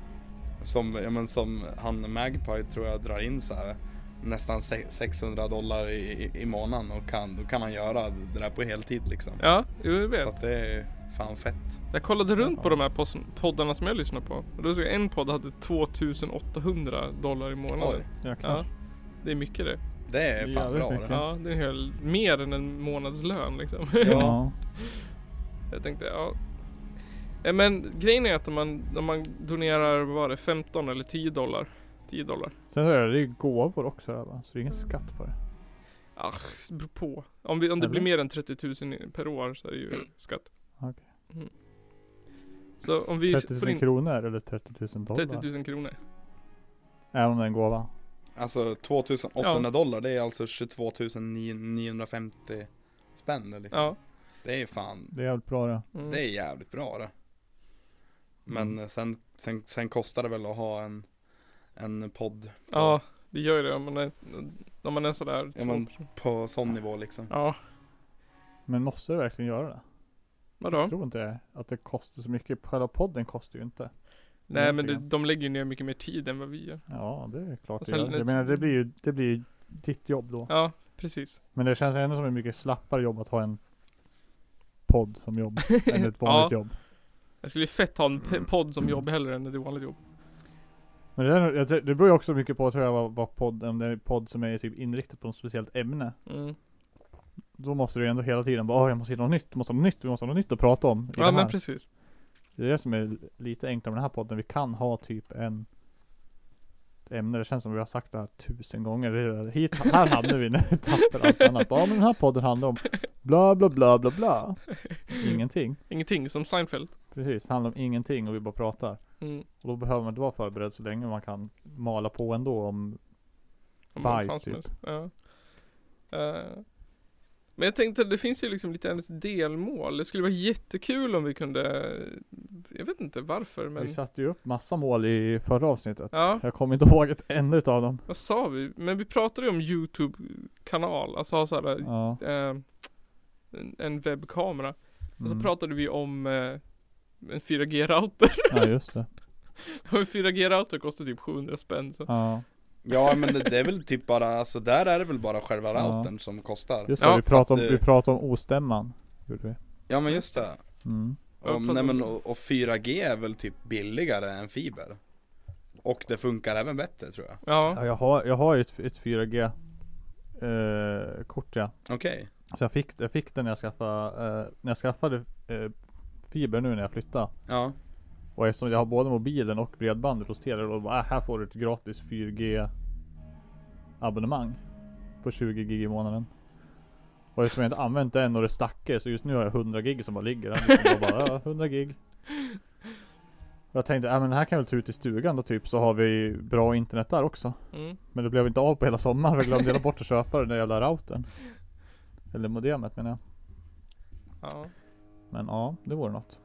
Som, ja, men som han Magpie tror jag drar in så här nästan se- 600 dollar i, i, i månaden och kan, då kan han göra det där på heltid liksom.
ja, jo, jag
Så
vet.
att det är fan fett.
Jag kollade runt på de här pos- poddarna som jag lyssnar på. Och då såg jag en podd hade 2800 dollar i månaden.
Oj,
Ja,
Jäklar.
det är mycket det.
det är fan
Jävligt
bra
mycket.
det.
Ja, det är en hel, mer än en månadslön liksom.
Ja.
Jag tänkte, ja. Eh, Men grejen är att om man, om man donerar, vad var det, 15 eller 10 dollar? 10 dollar.
Sen så är det ju gåvor också där, va? så det är ingen skatt på det.
Ah, det beror på. Om, vi, om det
Eller? Mm.
blir mer än 30 000 i- per år så är det ju skatt.
Okej.
Mm. Så om vi
30
får
000
in
kronor eller 30 000 dollar?
30 000 kronor.
Liksom. Även om det är en gåva.
Alltså 2800
Ja.
dollar det är alltså 22 950 spänn eller liksom.
Ja.
Det är fan,
Det är jävligt bra det.
Mm.
det är jävligt bra det. Men
Mm.
eh, sen, sen, sen kostar det väl att ha en, en podd
Ja, det gör ju det om man är, om man är sådär.
Ja,
två
men-
personer.
på sån nivå liksom.
ja.
Men måste du verkligen göra det? Jag
vadå?
tror inte det. Att det kostar så mycket. Själva podden kostar ju inte.
Nej men det,
egentligen.
de lägger ju ner mycket mer tid än vad vi gör.
Ja det är klart
Och
det
sen
gör. Jag
lite-
menar det blir ju, det blir ju ditt jobb då.
Ja, precis.
Men det känns ändå som ett mycket slappare jobb att ha en podd som jobb. än ett vanligt jobb.
Jag skulle ju fett ha en
Mm.
p- podd som jobb hellre än ett vanligt jobb.
Men det, där, jag tror- det beror ju också mycket på tror jag vad, vad podd, om det är en podd som är typ inriktad på något speciellt ämne.
Mm.
Då måste du ju ändå hela tiden bara "Åh, jag måste hitta något nytt, måste ha något nytt, vi måste ha något nytt att prata om. i
Ja
den
men
här."
precis.
Det är det som är lite enklare med den här podden. Vi kan ha typ en ett ämne. Det känns som vi har sagt det här tusen gånger. Det är- Hit, här hamnar vi när vi tappar allt annat. Ja men den här podden handlar om bla bla bla bla bla. Ingenting.
Ingenting, som Seinfeld.
Precis, det handlar om ingenting och vi bara pratar.
Mm.
Och då behöver man inte vara förberedd så länge man kan mala på ändå om
Om vad
Bajs,
fan som
typ.
helst. Ja. Eh, men jag tänkte, det finns ju liksom lite ens delmål. Det skulle vara jättekul om vi kunde, jag vet inte varför men,
Vi satte ju upp massa mål i förra avsnittet.
ja,
Jag kommer inte ihåg ett enda utav dem.
vad sa vi? Men vi pratade ju om YouTube-kanal, alltså ha såhär,
Ja.
eh, en- en webbkamera. Och så
Mm.
pratade vi om eh, en 4G-router.
Ja just det.
Och en 4G-router kostar typ 700 spänn. Så.
Ja.
Ja men det, det är väl typ bara, alltså där är det väl bara själva
Ja.
routern som kostar
Just det,
Ja,
vi, pratade
för
om,
att,
vi
eh,
pratade om ostämman. Gjorde vi.
Ja men just det
Mm.
Ja,
och,
pratar
nej,
om
men,
det.
och, och 4G är väl typ billigare än fiber Och det funkar även bättre tror jag
Ja.
Ja, jag, har, jag har ju ett, ett 4G eh, kort ja.
Okej
Så jag fick, jag fick den när jag skaffade, eh, när jag skaffade eh, fiber nu när jag flyttade.
Ja
Och eftersom jag har både mobilen och bredbandet hos Telia då bara, äh, här får du ett gratis 4G abonnemang på 20 gig i månaden. Och eftersom jag inte använt det än och det stackar så just nu har jag 100 gig som bara ligger där. Liksom Jag bara, ja, 100 gig. Och jag tänkte, äh, men det här kan jag väl ta ut i stugan då typ så har vi bra internet där också.
Mm.
Men det blev inte av på hela sommaren för jag glömde hela bort att köpa den där jävla routern. Eller modemet menar jag.
ja.
Men ja, det vore något.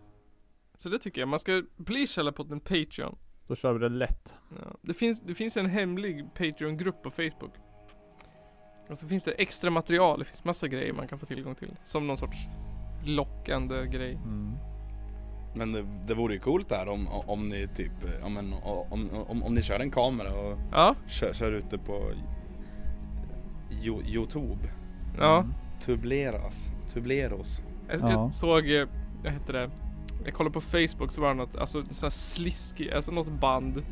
Så det tycker jag. Man ska bli Källarpodden Patreon.
Då kör vi det lätt.
Ja. Det, finns, det finns en hemlig Patreon-grupp på Facebook. Och så finns det extra material. Det finns massa grejer man kan få tillgång till. Som någon sorts lockande grej.
Mm.
Men det, det vore ju coolt där om, om ni typ, ja men om, om, om ni kör en kamera och
Ja.
kör, kör ute på Jo- Youtube
Ja.
Mm.
Tubleras, tubleros
Jag,
Ja.
jag såg, eh, vad heter det? Jag kollade på Facebook så var det något, alltså sån här sliskig, alltså något band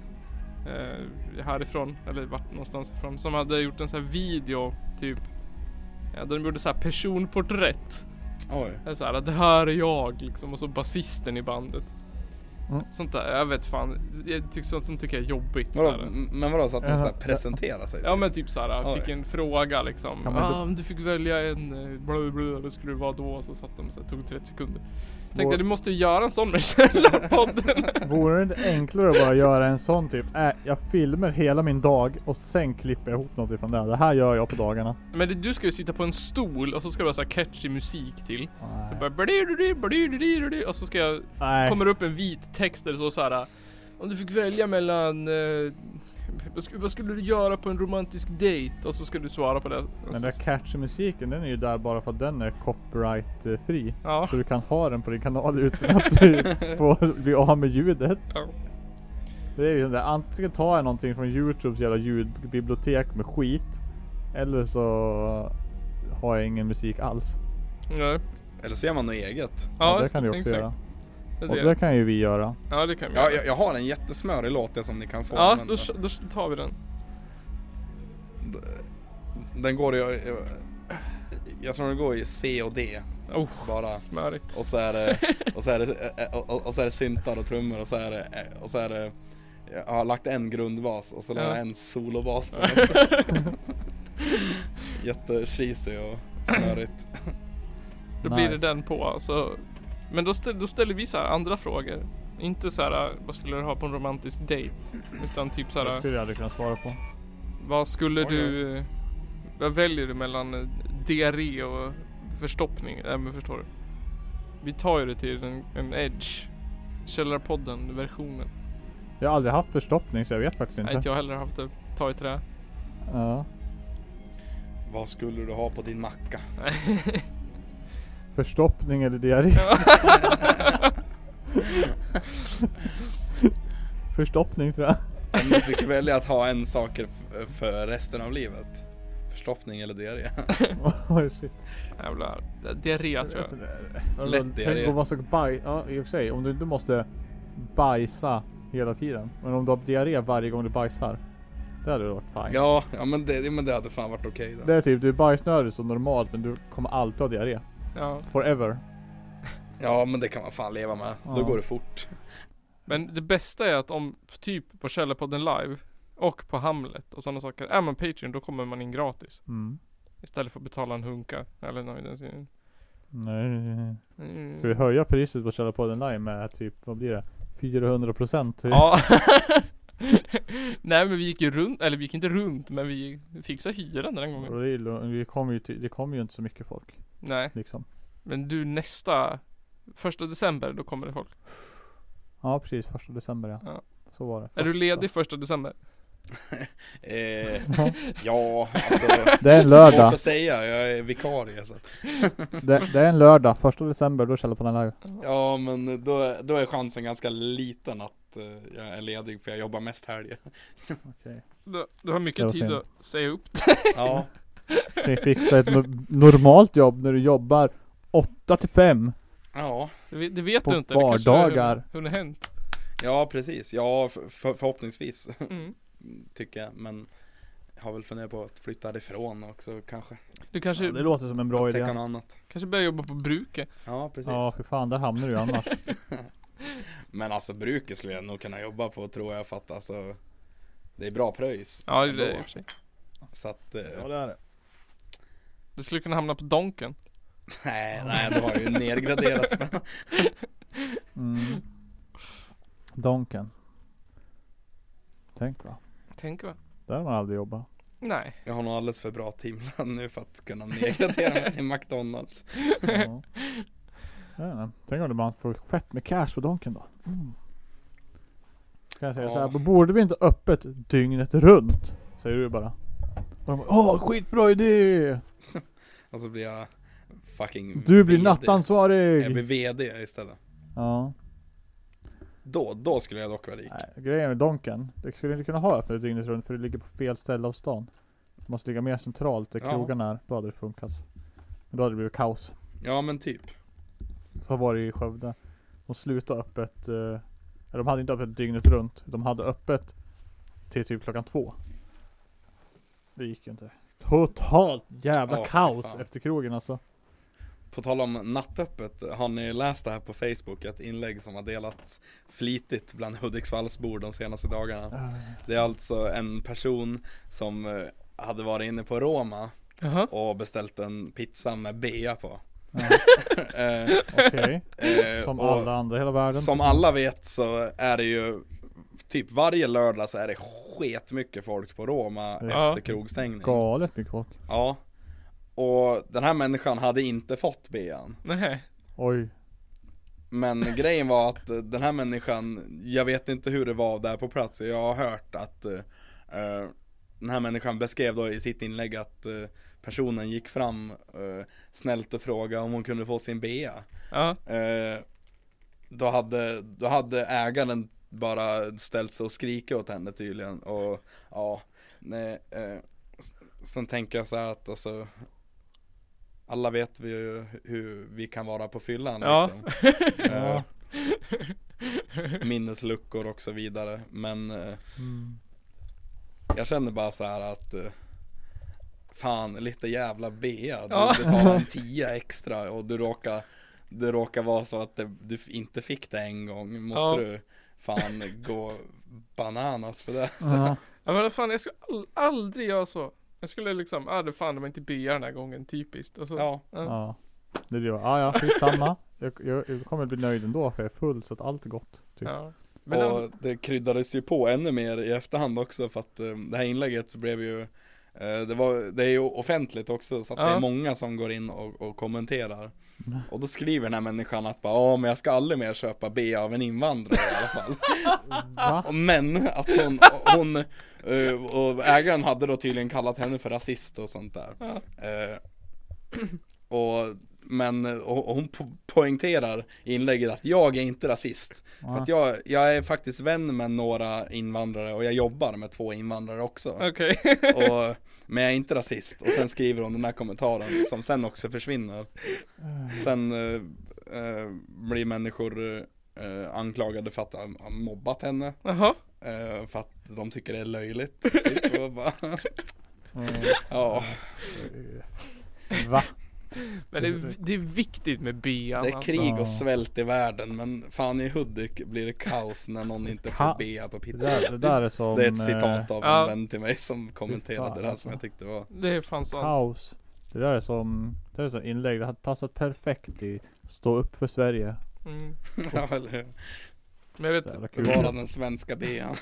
eh, härifrån, eller vart någonstans ifrån, som hade gjort en sån här video, typ. Ja, där de gjorde så här personporträtt.
Oj,
Det är Så här, det här är jag liksom, och så basisten i bandet.
Mm.
Sånt där, jag vet fan, jag tycker, sånt, sånt tycker jag är jobbigt. Så
vadå,
här.
m- men vadå så att man
Ja.
såhär presenterar sig?
Ja men typ såhär,
Oj.
fick en fråga liksom.
Kan man
ah,
inte-
om du fick välja en eh, bla bla bla, vad skulle det vara då? Så satt de så här, tog 30 sekunder. Tänkte
Vår-
du måste ju göra en sån med Källarpodden.
Vore det inte enklare att bara göra en sån typ, äh, jag filmar hela min dag och sen klipper jag ihop något ifrån det. här. Det här gör jag på dagarna.
men det, du ska ju sitta på en stol och så ska du ha så här catchy musik till. Så bara
Nej.
bli-di-di, bli-di-di-di-di, och så ska jag,
Nej.
kommer upp en vit text där det står såhär. Om du fick välja mellan eh, vad sk- vad skulle du göra på en romantisk dejt? Och så ska du svara på det. Och
Den
så-
där catchy musiken den är ju där bara för att den är copyright-fri.
Ja.
Så du kan ha den på din kanal utan att du får bli av med ljudet.
ja.
Det är ju den där, antingen tar jag någonting från Youtubes jävla ljudbibliotek med skit. Eller så har jag ingen musik alls.
Ja,
typ? Eller så gör man något eget
Ja, det kan du också
exakt.
göra.
Det är
Och
det.
det kan ju vi göra.
Ja det kan vi
Ja,
göra.
jag, jag har en jättesmörig låt det som ni kan få
Ja,
men-
då, kö- då tar vi den.
Den går i, jag, jag tror den går i C och D
Oh,
bara
smörigt.
Och så är det, och så är det, eh, och, och, och så är det syntar och trummor och så är det, eh, och så är det jag har lagt en grundbas och så la
Ja.
jag en solovas på den också. Jättecheesy och snörigt.
Då blir det
Nice.
den på. Så. Men då, ställ, då ställer vi så här andra frågor. Inte så här, vad skulle du ha på en romantisk dejt? Utan typ så
Det
här,
skulle jag aldrig kunna svara på.
vad skulle
Okej.
du... Vad väljer du mellan eh, diarré och förstoppning? Nej men förstår du. Vi tar ju det till en, en edge. Källarpodden versionen.
Jag har aldrig haft förstoppning så jag vet faktiskt
Nej
inte.
inte jag heller haft det. Ta i trä.
Ja.
Vad skulle du ha på din macka?
Förstoppning eller diarré? Förstoppning tror jag.
Om du fick välja att ha en sak för resten av livet. Förstoppning eller diarré.
Oj shit.
Jävlar. Diarré tror jag.
Vadå,
Lätt diarré.
Tänk om man ska bajsa. Ja i och för sig. Om du inte måste bajsa hela tiden. Men om du har diarré varje gång du bajsar. Det hade varit fine.
Ja, ja men, det, ja, men det hade fan varit okej då.
Det är typ, du är bajsnödig som normalt men du kommer alltid ha diarré.
Ja.
Forever.
Ja men det kan man fan leva med. Då
Ja.
går det fort.
Men det bästa är att om typ på Källarpodden live och på Hamlet och sådana saker. Är man Patreon då kommer man in gratis.
Mm.
Istället för att betala en hunka. Eller något i den stilen.
Nej.
Mm.
Ska vi höja priset på Källarpodden live med typ, vad blir det? 400 procent?
Ja. Nej men vi gick ju runt, eller vi gick inte runt men vi fixade hyran den här
Och
gången.
det, är ju lugnt. vi kommer ju, till- det kommer ju inte så mycket folk
Nej.
liksom.
Men du nästa, första december då kommer det folk.
Ja precis, första december ja.
Ja.
Så var det.
Är du ledig första december?
Eh,
Ja.
ja, alltså.
Det är en
Svårt
lördag.
att säga, jag är vikarie så. att-
Det, det är en lördag. Första december, då är Källarpodden live.
Ja men då, är- då är chansen ganska liten att eh, jag är ledig för jag jobbar mest helger.
Okej.
Du, du har
Det
mycket
var
tid
fint.
att säga upp
Ja,
Kan ju fixa ett no- normalt jobb när du jobbar 8 till 5
ja,
Det, ve- det vet
På
du inte. Det kanske har
vardagar.
hun- hunnit hänt.
ja precis. Ja för, för, förhoppningsvis
Mm.
tycker jag. Men jag har väl funderat på att flytta därifrån också kanske.
Du kanske,
ja, Det låter som en bra
Täcka
idé.
något annat.
kanske börjar jobba på bruket.
Ja precis.
Ja för fan, där hamnar du ju annars.
Men alltså bruket skulle jag nog kunna jobba på tror jag för att alltså det är bra pröjs.
Ja det är
ändå.
det i och för sig.
Så att, eh,
Ja det är det.
Du skulle kunna hamna på Donken.
nej, nej det var ju nedgraderat. Men,
Mm. Donken. Tänk va.
Tänk va?
Där har man aldrig jobbat.
Nej.
jag har nog alldeles för bra timlön nu för att kunna nedgradera mig till McDonalds.
Ja. Jag vet inte. Tänk om det bara får fett med cash på Donken då. Mm. Kan jag säga
Ja.
så här, borde vi inte ha öppet dygnet runt? Säger du bara. Och de bara, åh skitbra
Mm,
idé!
Och så blir jag fucking
Du blir
VD. Jag blir
nattansvarig!
VD istället.
Ja.
Då, då skulle jag dock vara rik.
Nej, grejen med Donken, du skulle inte kunna ha öppet dygnet runt för det ligger på fel ställe av stan. Det måste ligga mer centralt där
Ja.
krogarna är, då hade det funkat. Men då hade det blivit kaos.
Ja men typ.
Så var det i Skövde. De slutade öppet, eh, eller de hade inte öppet dygnet runt. De hade öppet till typ klockan två. Det gick ju inte. Totalt jävla
Ja, fy
kaos
fan.
efter krogen alltså.
På tal om nattöppet, har ni läst det här på Facebook? Ett inlägg som har delats flitigt bland Hudiksvallsbor de senaste dagarna.
Eh,
Det är alltså en person som eh, hade varit inne på Roma
Jaha.
och beställt en pizza med bea på.
Ja.
Eh,
Okej.
eh,
Som
och-
alla andra i hela världen.
Som alla vet så är det ju Typ varje lördag så är det sketmycket folk på Roma
Ja.
efter krogstängning
Galet mycket folk.
Ja Och den här människan hade inte fått bean
Nej.
Oj.
Men grejen var att eh, den här människan Jag vet inte hur det var där på plats Jag har hört att eh, eh, Den här människan beskrev då i sitt inlägg att eh, Personen gick fram eh, Snällt och frågade om hon kunde få sin bea
Ja.
Eh, då, hade, då hade ägaren bara ställt sig och skrika åt henne tydligen och ja, nej, eh, s- sen tänker jag så här att alltså alla vet vi ju hur vi kan vara på fyllan
Ja.
liksom. Eh, Minnesluckor och så vidare men eh,
Mm.
jag känner bara så här att eh, Fan, lite jävla bea. Du
Ja.
betalar en tia extra och du råkar Det råkar vara så att det, du inte fick det en gång. Måste
Ja.
du fan gå bananas för det?
Ja.
ja men vad fan jag skulle all, aldrig göra så. Jag skulle liksom, ah det fan det var inte BR den här gången typiskt. Och så,
Ja,
Ja. Det blir bara, ah, ja skitsamma. Jag, jag, jag kommer bli nöjd ändå för jag är full så att allt är gott. Typ.
ja. Men
och
alltså,
det kryddades ju på ännu mer i efterhand också för att eh, det här inlägget så blev ju eh, det, var, det är ju offentligt också så att det
Ja.
är många som går in och, och kommenterar
Mm.
Och då skriver den här människan att bara, ja men jag ska aldrig mer köpa bea av en invandrare i alla fall
Va?
Men att hon, hon eh, och ägaren hade då tydligen kallat henne för rasist och sånt där
Ja.
Eh, Och Men eh, och, och hon po- poängterar i inlägget att jag är inte rasist. För att jag, jag är faktiskt vän med några invandrare och jag jobbar med två invandrare också.
Okej.
Och, men jag är inte rasist. Och sen skriver hon den här kommentaren som sen också försvinner. Sen eh, eh, blir människor eh, anklagade för att ha mobbat henne.
Jaha.
eh, för att de tycker det är löjligt. Typ. Och bara, ja,
Va?
Men det är, det är viktigt med bean
Mm. det är
alltså.
krig och svält i världen men fan i Hudik blir det kaos när någon inte
Ka-
får bea på
Det
pizza.
där, det där är som...
Det är ett citat
eh,
av
ja.
en vän till mig som kommenterade
fan,
det här
alltså.
som jag tyckte var
Det är fan sant.
Kaos. Det där är som... Det där är som inlägg. Det hade passat perfekt i Stå upp för Sverige.
Mm.
Ja eller hur?
Men jag
Så
vet,
jävla kul.
Bevara den svenska bean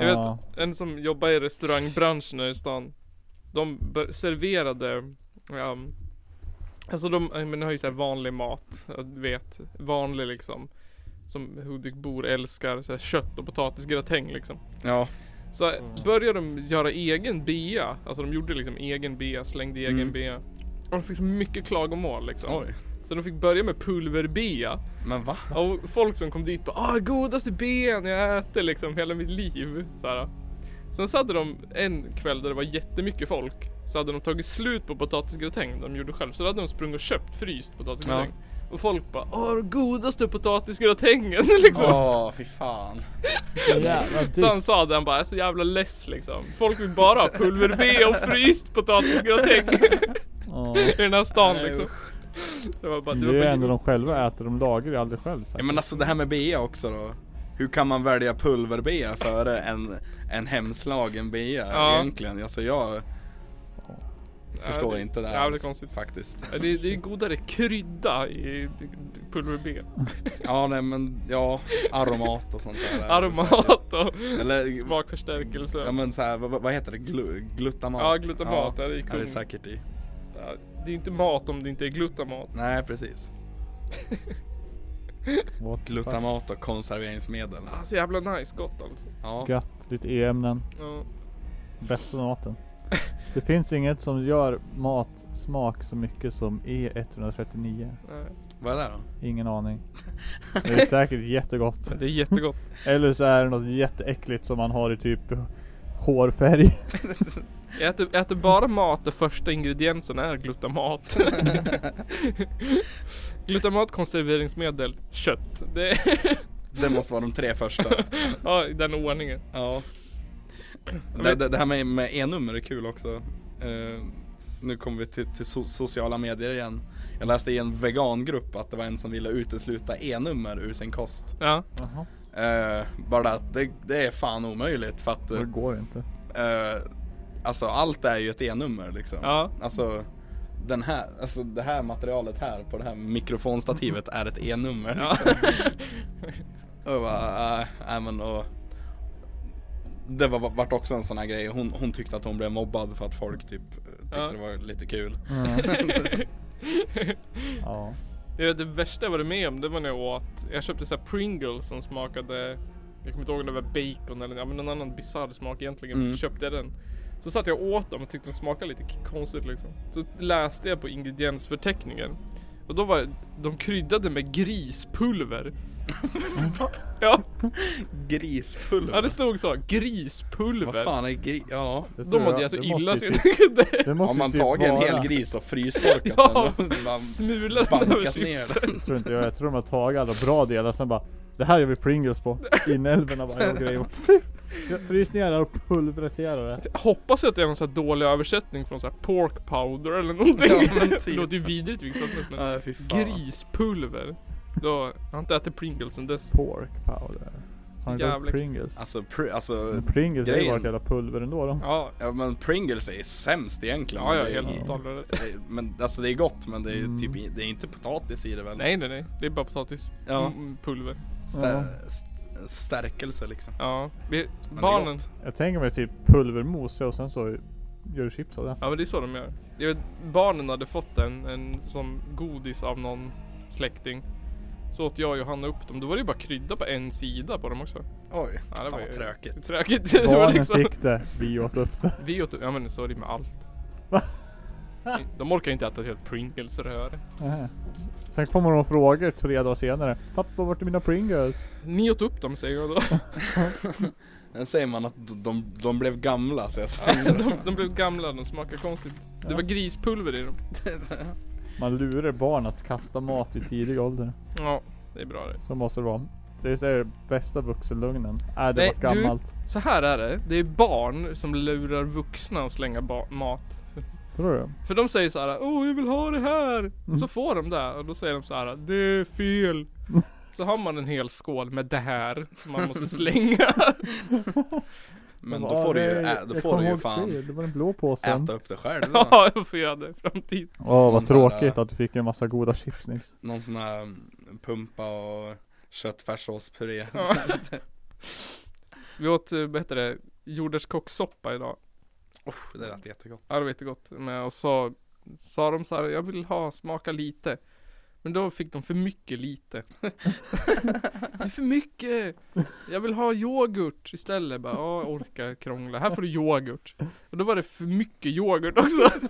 jag en som jobbar i restaurangbranschen här i stan. De bör- serverade, ja, alltså de, eh, men de har ju så här vanlig mat, jag vet, vanlig liksom. Som Hudikbor älskar, så här kött och potatisgratäng liksom.
Ja,
Så
Mm.
började de göra egen bea, alltså de gjorde liksom egen bea, slängde egen
Mm.
bea. Och de fick så mycket klagomål liksom.
oj
Så de fick börja med pulverbea.
Men va?
Och folk som kom dit bara ah godaste ben jag äter liksom hela mitt liv. Så här. Sen så hade de en kväll där det var jättemycket folk. Så hade de tagit slut på potatisgratäng de gjorde själv. Så då hade de sprungit och köpt fryst potatisgratäng. Och folk bara ah godaste potatisgratängen liksom.
Åh, fy fan
Så jävla
Så han
dyst.
sa det, han bara jag är så jävla less liksom. Folk vill bara ha pulver-B och fryst potatisgratäng
Ja.
i den här stan
Nej,
liksom. Det var bara, det var
Det
bara-
är ändå de själva äter. De lagar ju aldrig själv. säkert.
Ja men alltså det här med bea också då Hur kan man välja pulverbea före en, en hemslagen bea
Ja.
egentligen? Alltså jag förstår
det-
inte det
jävligt
alls,
konstigt.
faktiskt
Ja, Det, det är godare krydda i pulver-B.
Ja nej men ja, aromat och sånt där
Aromat och
Eller
smakförstärkelse.
Ja men så här, vad, vad heter det? Glu, glutamat?
Ja, glutamat, ja, det är
ja, det är
kung.
säkert i
Ja, Det är inte mat om det inte är glutamat.
Nej precis
What the fuck?
Glutamat och konserveringsmedel
Ah, så jävla nice, gott alltså.
Ja,
Gött. Lite e-ämnen.
Ja.
Bästa maten. Det finns inget som gör mat smak så mycket som E E139.
nej.
vad är det då?
Ingen aning. Det är säkert jättegott.
Men Det är jättegott.
Eller så är det något jätteäckligt som man har i typ hårfärg.
Jag äter, äter bara mat där första ingrediensen är glutamat. glutamat, konserveringsmedel, kött. Det är
Det måste vara de tre första
ja, i den ordningen.
Ja det,
vet-
det, det här med, med e-nummer är kul också Eh, Nu kommer vi till, till so- sociala medier igen Jag läste i en vegangrupp att det var en som ville utesluta e-nummer ur sin kost
Ja.
Jaha.
Eh, Bara att det, det är fan omöjligt för att
Det
eh,
går inte.
Eh, Alltså allt är ju ett E-nummer liksom.
Ja.
Alltså, den här, alltså det här materialet här på det här mikrofonstativet är ett E-nummer.
ja.
Och jag bara, äh, äh, men och det var, vart också en sån här grej, hon, hon tyckte att hon blev mobbad för att folk typ tyckte
Ja.
det var lite kul.
Ja.
Det, det värsta jag varit med om det var när jag åt, jag köpte så här Pringles som smakade, jag kommer inte ihåg om det var bacon eller ja, men en annan bisarr smak egentligen,
Mm.
köpte jag den. Så satt jag och åt dem och tyckte de smakade lite k- konstigt liksom. Så läste jag på ingrediensförteckningen. Och då var de kryddade med grispulver. ja, ja,
Grispulver.
det stod så. Grispulver.
Vad fan är gris? Ja.
Det
De
tror
mådde
jag-
jag så
det
illa
måste
så
ju
jag
typ-
tyckte
Det
Har
måste
man
ju typ
tagit en hel
vara-
gris och frystorkat
Ja.
den och bara
smulade över
bankat
chipsen.
ner den.
Tror inte jag. Jag tror de har tagit alla bra delar sen bara Det här gör vi Pringles på. Inälvorna bara och grejer. Frys ner det här och pulverisera det.
Jag hoppas att det är någon sån här dålig översättning från så här pork powder eller någonting.
Ja, men
det
typ.
låter ju vidrigt i vilket fall som helst, men
Äh, fy fan.
grispulver. Då, jag har inte ätit Pringles sen dess.
Pork powder. Har ni
jävla-
tagit Pringles?
Alltså, pr- alltså
Men Pringles är ju
grejen-
bara ett jävla pulver ändå de.
Ja,
Ja men Pringles är sämst egentligen.
ja,
men
ja
det är-
helt totalt rätt.
det är- Men alltså det är gott men det är ju typ
Mm.
i- det är inte potatis i det väl?
Nej, nej, nej. Det är bara potatispulver.
Ja.
Mm.
pulver.
Stä- st- stärkelse liksom.
Ja. Vi,
är
barnen.
Jag tänker mig typ pulvermos och sen så gör du chips av det.
Ja men det är så de gör. Jag vet, barnen hade fått en, en som godis av någon släkting. Så åt jag och Johanna upp dem. Då var det ju bara krydda på en sida på dem också.
Oj,
Ja,
fan vad tråkigt.
Tråkigt. Det var
Barnen
liksom,
fick det, vi åt upp det.
vi åt, ja men så är det med allt. De orkar inte äta ett helt Pringles-röre.
Nej. Sen kommer de och frågar tre dagar senare. Pappa vart är mina Pringles?
Ni åt upp dem säger jag då.
Sen säger man att de, de blev gamla så jag sa
De, de blev gamla, de smakar konstigt. Det var grispulver i dem.
Man lurar barn att kasta mat i tidig ålder.
Ja, det är bra det.
Så måste det vara. Det är så här bästa vuxenlugnen. Är det
Nej,
vart gammalt?
Så här är det, det är barn som lurar vuxna att slänga ba- mat.
Tror du?
För de säger så här, åh jag vill ha det här. Så får de det och då säger de så här, det är fel. Så har man en hel skål med det här som man måste slänga.
Men
Bara,
då får du ju,
"Nej,
ä, då
jag
får
kom
du ju
ihåg
fan
fel. Det var den blå påsen.
äta upp det själv då.
Ja, jag får göra det i framtiden.
Åh
Någon
vad
sån här,
tråkigt att du fick en massa goda chips nyss.
Någon sån här mm, pumpa och köttfärssåspuré
Ja. Vi åt, eh, vad heter det, jordärtskockssoppa idag.
Usch, Det lät jättegott
Ja, det var jättegott. Men, och så sa de så här, jag vill ha, smaka lite. Men då fick de för mycket lite. det är för mycket! Jag vill ha yoghurt istället. Bara, ja, jag orkar krångla. Här får du yoghurt. Och då var det för mycket yoghurt också.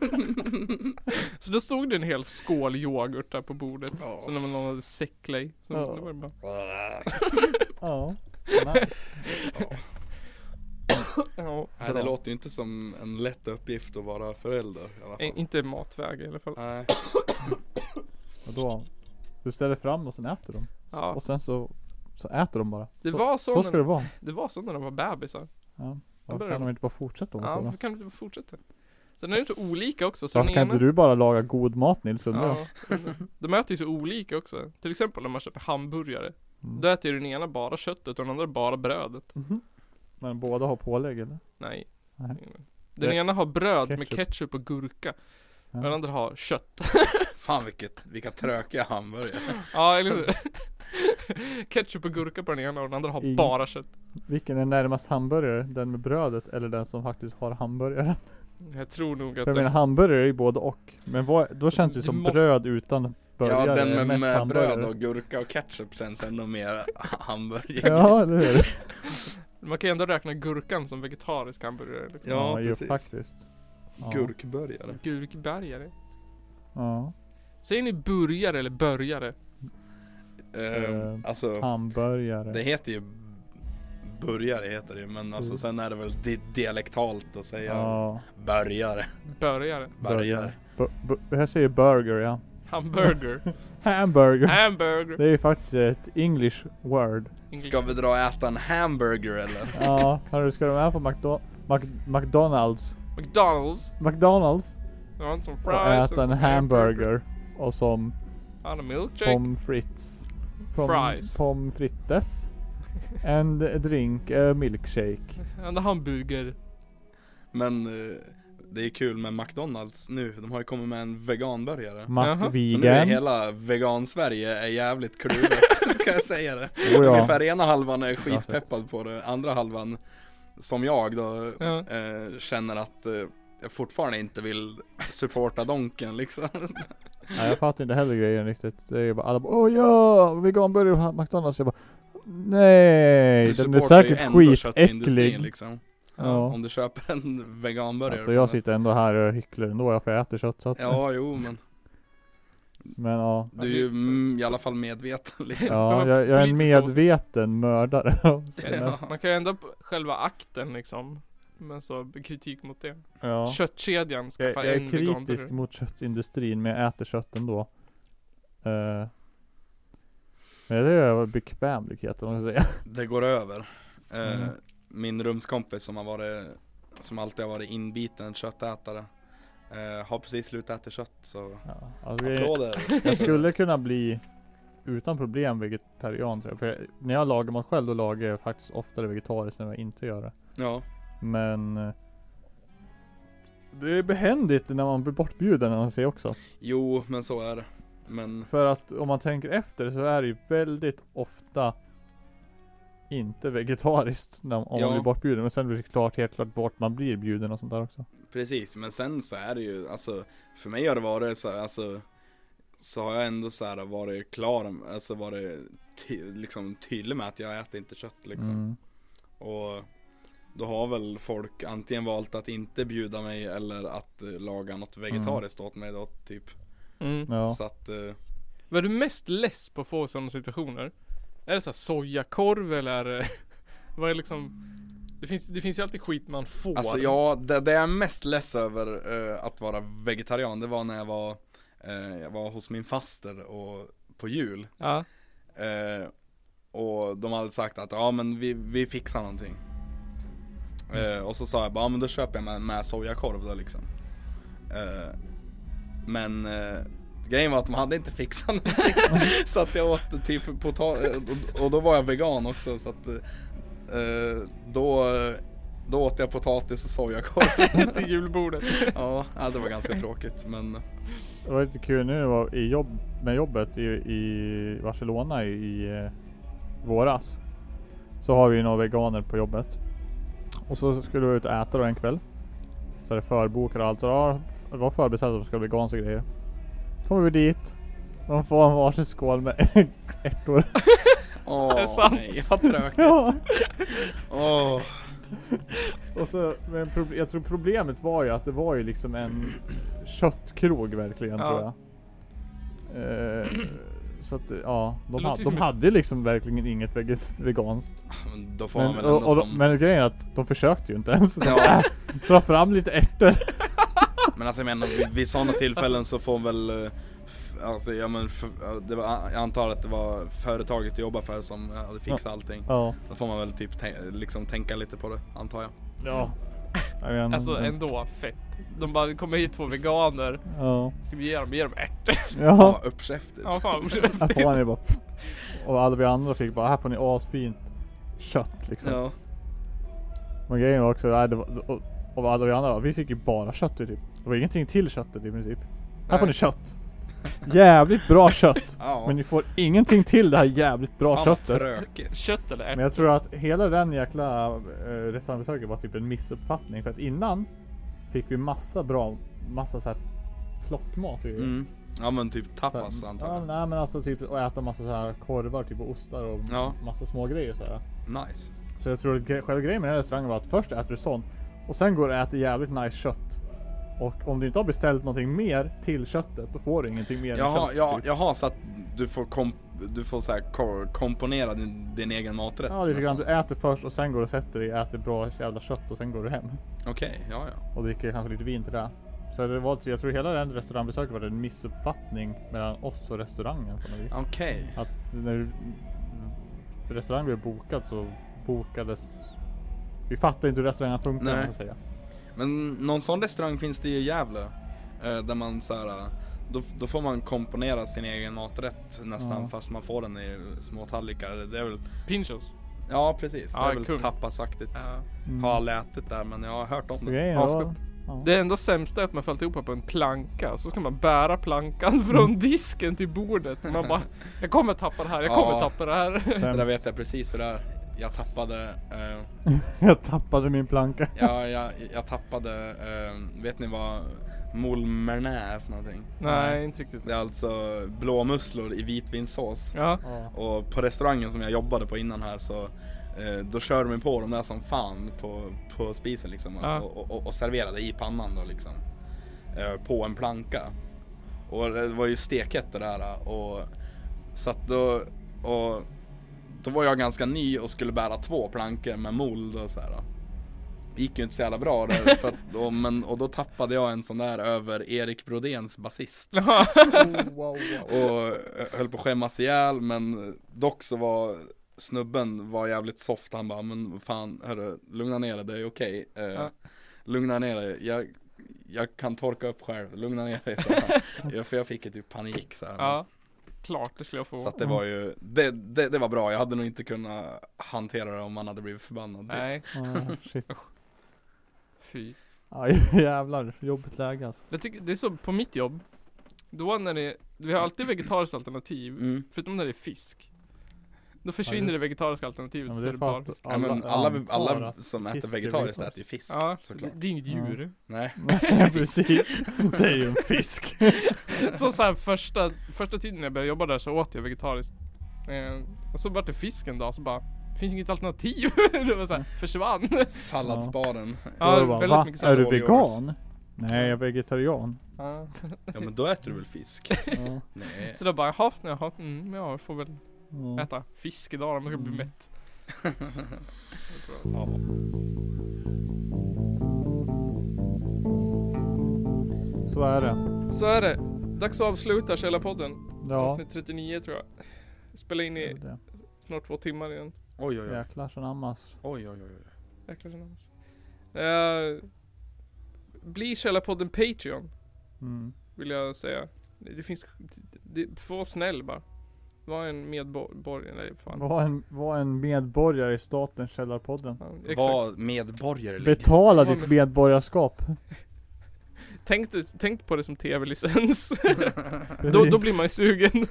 så då stod det en hel skål yoghurt där på bordet.
Ja.
Så när man någon hade säckla i. Så
Ja.
då var det bara,
Ja. Nej.
ja.
Nej det
Bra.
låter ju inte som en lätt uppgift att vara förälder i alla
Eh,
fall
Inte matväg i alla fall.
Nej,
Vadå? Du ställer fram och sen äter de.
Ja.
Och sen så, så äter de bara.
Det
så,
var
så,
så,
ska
när,
det vara.
det var så när de var bebisar.
Ja.
börjar
Varför kan
de.
de inte bara fortsätta med
Ja,
det?
då kan du inte fortsätta. Sen är det så olika också. Så
Varför
den
kan
ena-
inte du bara laga god mat Nils undrar jag?
Ja, de äter ju så olika också. Till exempel när man köper hamburgare.
Mm.
Då äter ju den ena bara köttet och den andra bara brödet.
Mhm. Men båda har pålägg eller?
Nej.
Nej.
Den
Det-
ena har bröd med
ketchup.
ketchup och gurka.
Ja.
Och den andra har kött.
fan vilket, vilka trökiga hamburgare
Ja, eller hur? Ketchup och gurka på den ena och den andra har
Ingen-
bara kött.
Vilken är närmast hamburgare? Den med brödet eller den som faktiskt har hamburgaren?
Jag tror nog att
För jag menar
den...
hamburgare är ju både och. Men vad, då känns det
Det
som
måste-
bröd utan burgare.
Ja den
är
med,
mest
med bröd
hamburgare.
och gurka och ketchup känns ändå mer hamburgare
Ja eller hur?
Man kan ju ändå räkna gurkan som vegetarisk hamburgare. Liksom.
Ja,
ju
precis.
faktiskt. Ja.
Gurkburgare
Gurkbergare.
Ja.
Säger ni burgare eller börjare?
Ehm, Alltså
Hamburgare.
Det heter ju burgare heter det ju, men alltså
Mm.
sen är det väl di- dialektalt att säga
Ja.
börjare,
Börjare.
börjare.
Bu- bu- jag säger burger ja.
Hamburger.
Hamburger.
Hamburger.
Det är ju faktiskt ett English word.
Ska vi dra och äta en hamburger eller?
Ja, hörru ska du vara med på McDo- Mac- McDonalds?
McDonalds.
McDonalds?
Jag har en som fries.
Och
som
äta en
hamburger.
hamburger. Och som
Han har milkshake.
pommes frites. Pom-
Fries.
Pommes frites. And a drink, a milkshake.
Han har hamburger.
Men eh, det är kul med McDonalds nu, de har ju kommit med en veganburgare.
Jaha.
Mac
Så nu är
vegan.
hela vegan-Sverige är jävligt kluvet, kan jag säga det.
Oh, ja.
Ungefär ena halvan är skitpeppad på det, andra halvan som jag då
Ja.
eh, känner att eh, jag fortfarande inte vill supporta Donken liksom.
Nej, jag fattar inte heller grejen riktigt. Det är ju bara alla bara Åh ja! Veganburgare på McDonalds. Jag bara Nej! Den är
supportar ju
säkert
ändå köttindustrin,
skitäcklig.
Liksom.
Ja.
Om du köper en veganburgare
Alltså jag
från ett-
sitter ändå här och hycklar ändå, jag får äta kött så att,
Ja, jo men
Men ja,
du är ju mm, i alla fall medveten liksom.
ja
var
jag, jag är en
politiskt
medveten mördare
Ja.
Man kan ju ändra på själva akten liksom. Men så kritik mot det.
ja.
Köttkedjan
Jag,
skaffar
jag är
en
kritisk
veganburgare.
mot köttindustrin men jag äter kött ändå Eh, Men det är ju bekvämlighet om man ska säga
Det går över. Eh,
Mm.
Min rumskompis som har varit, som alltid har varit inbiten köttätare, eh, har precis slutat äta kött så
ja. alltså, jag,
applåder.
jag skulle kunna bli utan problem vegetarian tror jag. För jag, när jag lagar mat själv då lagar jag faktiskt oftare vegetariskt än vad jag inte gör det
Ja,
Men eh, Det är behändigt när man blir bortbjuden när man ser också
jo men så är det. Men
För att om man tänker efter så är det ju väldigt ofta inte vegetariskt när, om
Ja.
man blir bortbjuden. Men sen blir det klart, helt klart vart man blir bjuden och sånt där också.
precis, men sen så är det ju alltså, för mig har det varit så här, alltså så har jag ändå så här varit klar, alltså varit ty- liksom tydlig med att jag äter inte kött liksom.
Mm.
Och Då har väl folk antingen valt att inte bjuda mig eller att eh, laga något vegetariskt åt mig då typ
Mm.
Ja.
Så att eh,
Vad är du mest less på att få i sådana situationer? Är det så här sojakorv eller? är det- Vad är liksom? Det finns, det finns ju alltid skit man får.
Alltså ja, det, det jag är mest less över eh, att vara vegetarian det var när jag var, eh, jag var hos min faster och, på jul
Ja.
eh, Och de hade sagt att ja men vi, vi fixar någonting eh, Och så sa jag bara ja men då köper jag med, med sojakorv då liksom eh, Men eh, Grejen var att de hade inte fixat någonting Så att jag åt typ potatis och, och då var jag vegan också så att eh, Då Då åt jag potatis och sojakorv
Till julbordet.
ja, ja, det var ganska tråkigt men
Det var lite kul nu det var i jobb, med jobbet i, i Barcelona i, i eh, våras. Så har vi några veganer på jobbet. Och så skulle vi ut och äta då en kväll. Så är det förbokade och allt. Så ja, det var förbeställt att de skulle bli veganska grejer. Kommer vi dit. och De får en varsin skål med ärtor.
Åh
Är det sant?
nej, vad tråkigt
Ja.
Åh.
Och så, men proble- jag tror problemet var ju att det var ju liksom en köttkrog verkligen
Ja.
tror jag. Eh, så att ja,
Det
de,
låter
ha,
ju som
de
ett-
hade liksom verkligen inget vege- veganskt.
Men då får man
Men,
väl
och,
ändå
och, de-
som
men grejen är att de försökte ju inte ens. De
Ja,
drar fram lite ärtor.
men alltså jag menar vid, vid sådana tillfällen så får väl eh, f- Alltså ja men f- ja, det var, jag antar att det var företaget du jobbar för som eh, hade fixat allting
Ja.
Då får man väl typ tän- liksom tänka lite på det antar jag
Ja. Jag vet inte.
Alltså ändå fett. De bara, det kommer hit två veganer.
Ja.
Ska vi ge dem, ge dem ärtor? Typ.
Fan
Ja.
vad uppkäftigt
Ja fan.
Att få han ju bara. Och alla vi andra fick bara, här får ni asfint kött liksom.
Ja,
Men grejen var också, nej, det var, och, och alla vi andra, vi fick ju bara kött i typ. Det var ingenting till köttet i princip. Här
Nej.
får ni kött. Jävligt bra kött.
ja.
Men ni får ingenting till det här jävligt bra
fan vad
köttet.
tråkigt
Kött eller
Men
ärtor?
jag tror att hela den jäkla eh, restaurangbesöket var typ en missuppfattning. För att innan fick vi massa bra, massa så här plockmat. vi-
mm. Ja men typ
så här-
tapas antar
ja,
jag
nej men alltså typ att äta massa så här korvar typ och ostar och
Ja.
massa små grejer så här.
Nice
Så jag tror att gre- själva grejen med den här restaurangen var att först äter du sånt och sen går du och äter jävligt nice kött. Och om du inte har beställt någonting mer till köttet då får du ingenting mer än
Jaha,
kött.
ja,
typ.
jaha så att du får, komp- du får så här ko- komponera din, din egen maträtt
ja lite grann.
nästan.
Du äter först och sen går du och sätter dig, äter bra jävla kött och sen går du hem.
Okej, ja ja
Och dricker kanske lite vin till det. Så det var, jag tror hela den restaurangbesöket var en missuppfattning mellan oss och restaurangen på något vis.
Okej
Att när restaurangen blev bokad så bokades... Vi fattade inte hur restaurangen funkar om
Nej.
man ska säga.
Men någon sån restaurang finns det ju i Gävle. eh, Där man så här, eh, då, då får man komponera sin egen maträtt nästan
Ja.
fast man får den i små tallrikar. Det är väl,
Pinchos?
ja precis, det
Ja,
är väl
kung.
tapasaktigt.
Ja.
Mm.
Har aldrig ätit där men jag har hört om
Så
det.
grejen var-
Asgott.
ja.
Det enda sämsta är att man fallit ihop på en planka, så ska man bära plankan från disken till bordet. Man bara, jag kommer tappa det här, jag kommer
Ja.
tappa det här.
Det
Sämst.
där vet jag precis hur det är. Jag tappade, eh,
Jag tappade min planka.
jag, jag, jag tappade, eh, vet ni vad moulmené är för någonting?
Nej, inte riktigt.
Det är alltså blåmusslor i vitvinsås.
Ja.
Och på restaurangen som jag jobbade på innan här så eh, då körde de på dem där som fan på, på spisen liksom och,
Ja.
och, och, och serverade i pannan då liksom. Eh, på en planka. Och det var ju steket det där och så att då och då var jag ganska ny och skulle bära två plankor med mol då så här. Då. Gick ju inte så jävla bra där, för att, och, men, och då tappade jag en sån där över Erik Brodéns basist. Och eh, höll på att skämmas ihjäl men dock så var snubben var jävligt soft han bara men fan hörru lugna ner dig det är okej eh,
Ja.
Lugna ner dig jag, jag kan torka upp själv lugna ner dig så här. Ja, För jag fick ju typ panik så här.
ja. Klart det skulle jag
Så
få.
att det var ju det, det, det var bra jag hade nog inte kunnat hantera det om han hade blivit förbannad typ.
Nej,
Ah, shit.
fy.
Aj, jävlar, jobbigt läge alltså.
Jag tycker, det är så på mitt jobb. Då när det, vi har alltid vegetariskt alternativ,
Mm.
förutom när det är fisk. Då försvinner
just.
det vegetariska alternativet
Ja,
så
men
är
det
det
är för
bara
att
fisk.
Ja, men alla,
antar
alla
att-
som äter
fisk är
vegetariskt
vegetariskt.
äter ju fisk
Ja,
såklart.
det är inget djur.
Nej,
Nej precis, det är ju en fisk.
Så, så här, Ehm, första, första tiden när jag började jobba där så åt jag vegetariskt. Eh, och så vart det fisk en dag så bara finns inget alternativ. det var såhär, försvann.
Salladsbaren.
Ja,
Då bara,
väldigt
"Va?
mycket
Är du
sådana
vegan? Nej, jag är vegetarian.
Ja.
Ja men då äter du väl fisk?
Ja,
Nej.
Så då bara, jaha, jaha, mm, ja, jag får väl
ja.
äta fisk idag om jag ska bli
Mm.
mätt.
Ja.
Så är det.
Så är det. Dags att avsluta Källarpodden.
Ja.
Avsnitt 39 tror jag. Spela in
det är
i
det.
snart två timmar igen.
Oj oj oj.
Jäklar så namnas.
Oj oj oj. oj.
Jäklar så namns. Eh, Bli Källarpodden Patreon,
Mm.
vill jag säga. Det finns... Det, det, var snäll bara. Var en medborgare, nej fan.
Var en, var en medborgare i statens källarpodden.
Ja, exakt.
Var medborgerlig.
Betala
Ja,
ditt
men-
medborgarskap.
Tänk, det- tänk på det som tv-licens. då, då blir man ju sugen.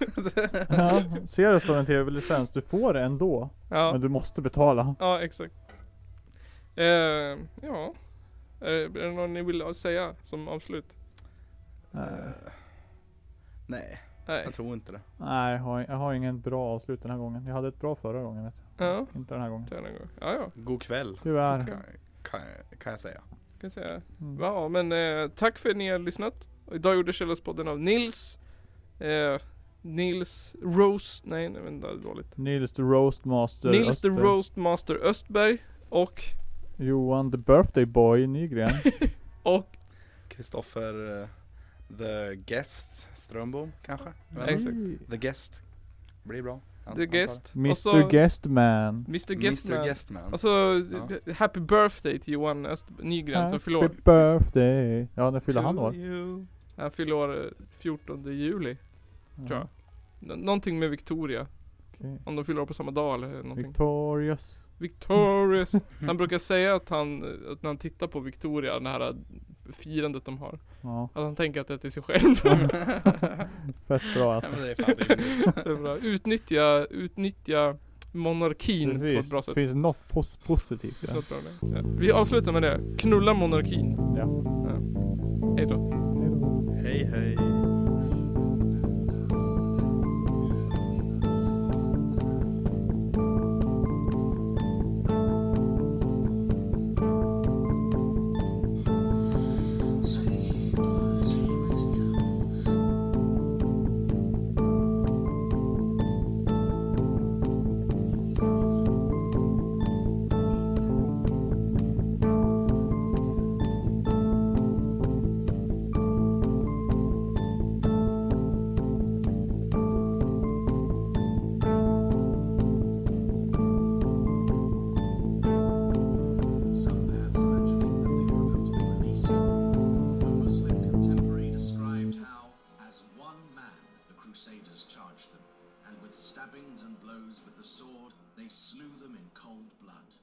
ja, ser det som en tv-licens, du får det ändå.
ja.
Men du måste betala.
ja, exakt. Eh, ja. Är det, är det något ni vill säga som avslut?
Eh, Nej,
Nej.
jag tror inte det.
Nej, jag har, jag har ingen bra avslut den här gången. Jag hade ett bra förra gången vet jag.
Ja.
Inte den här gången.
Inte den här gången. Ja, ja.
God kväll.
Tyvärr.
Kan, kan, kan jag säga.
Kan jag säga.
Mm.
Ja, men eh, tack för att ni har lyssnat. Idag gjorde Källarspodden av Nils. Eh, Nils Rose. Nej, nej, vänta, det var dåligt.
Nils the Roastmaster
Nils the
Öster.
Roastmaster Östberg. Och,
Johan the Birthday Boy Nygren.
och,
Kristoffer eh, the guest Strömbom kanske? Jag vet inte.
Exakt.
The guest. Blir bra. an-
The
antar jag.
Guest. Alltså,
Mr
Och så,
Guestman.
Mr
Mr
Guestman.
Guestman.
Alltså, d- happy birthday till Johan Öst Nygren som fyller år.
Happy birthday. Ja, när fyller
To
han år?
you.
Han fyller år eh, 14 juli, tror jag. N- Någonting med Victoria.
Okej.
Om de fyller år på samma dag eller någonting.
Victorious.
Victorious. Han brukar säga att han, eh, att när han tittar på Victoria, det här eh, firandet de har.
Ja,
Att han tänker att det är till sig själv.
fett bra
Ja,
alltså.
men det är fan rimligt.
det är bra. Utnyttja, utnyttja monarkin på ett bra sätt.
Precis. Det finns något pos- positivt i
Det är
det.
något bra med det. Ja. Vi avslutar med det. Knulla monarkin.
Ja.
Hej då.
Hej då.
Hej hej.
Some maps mentioning that they were built for the east. A Muslim contemporary described how, as one man, the Crusaders charged them, and with stabbings and blows with the sword, they slew them in cold blood.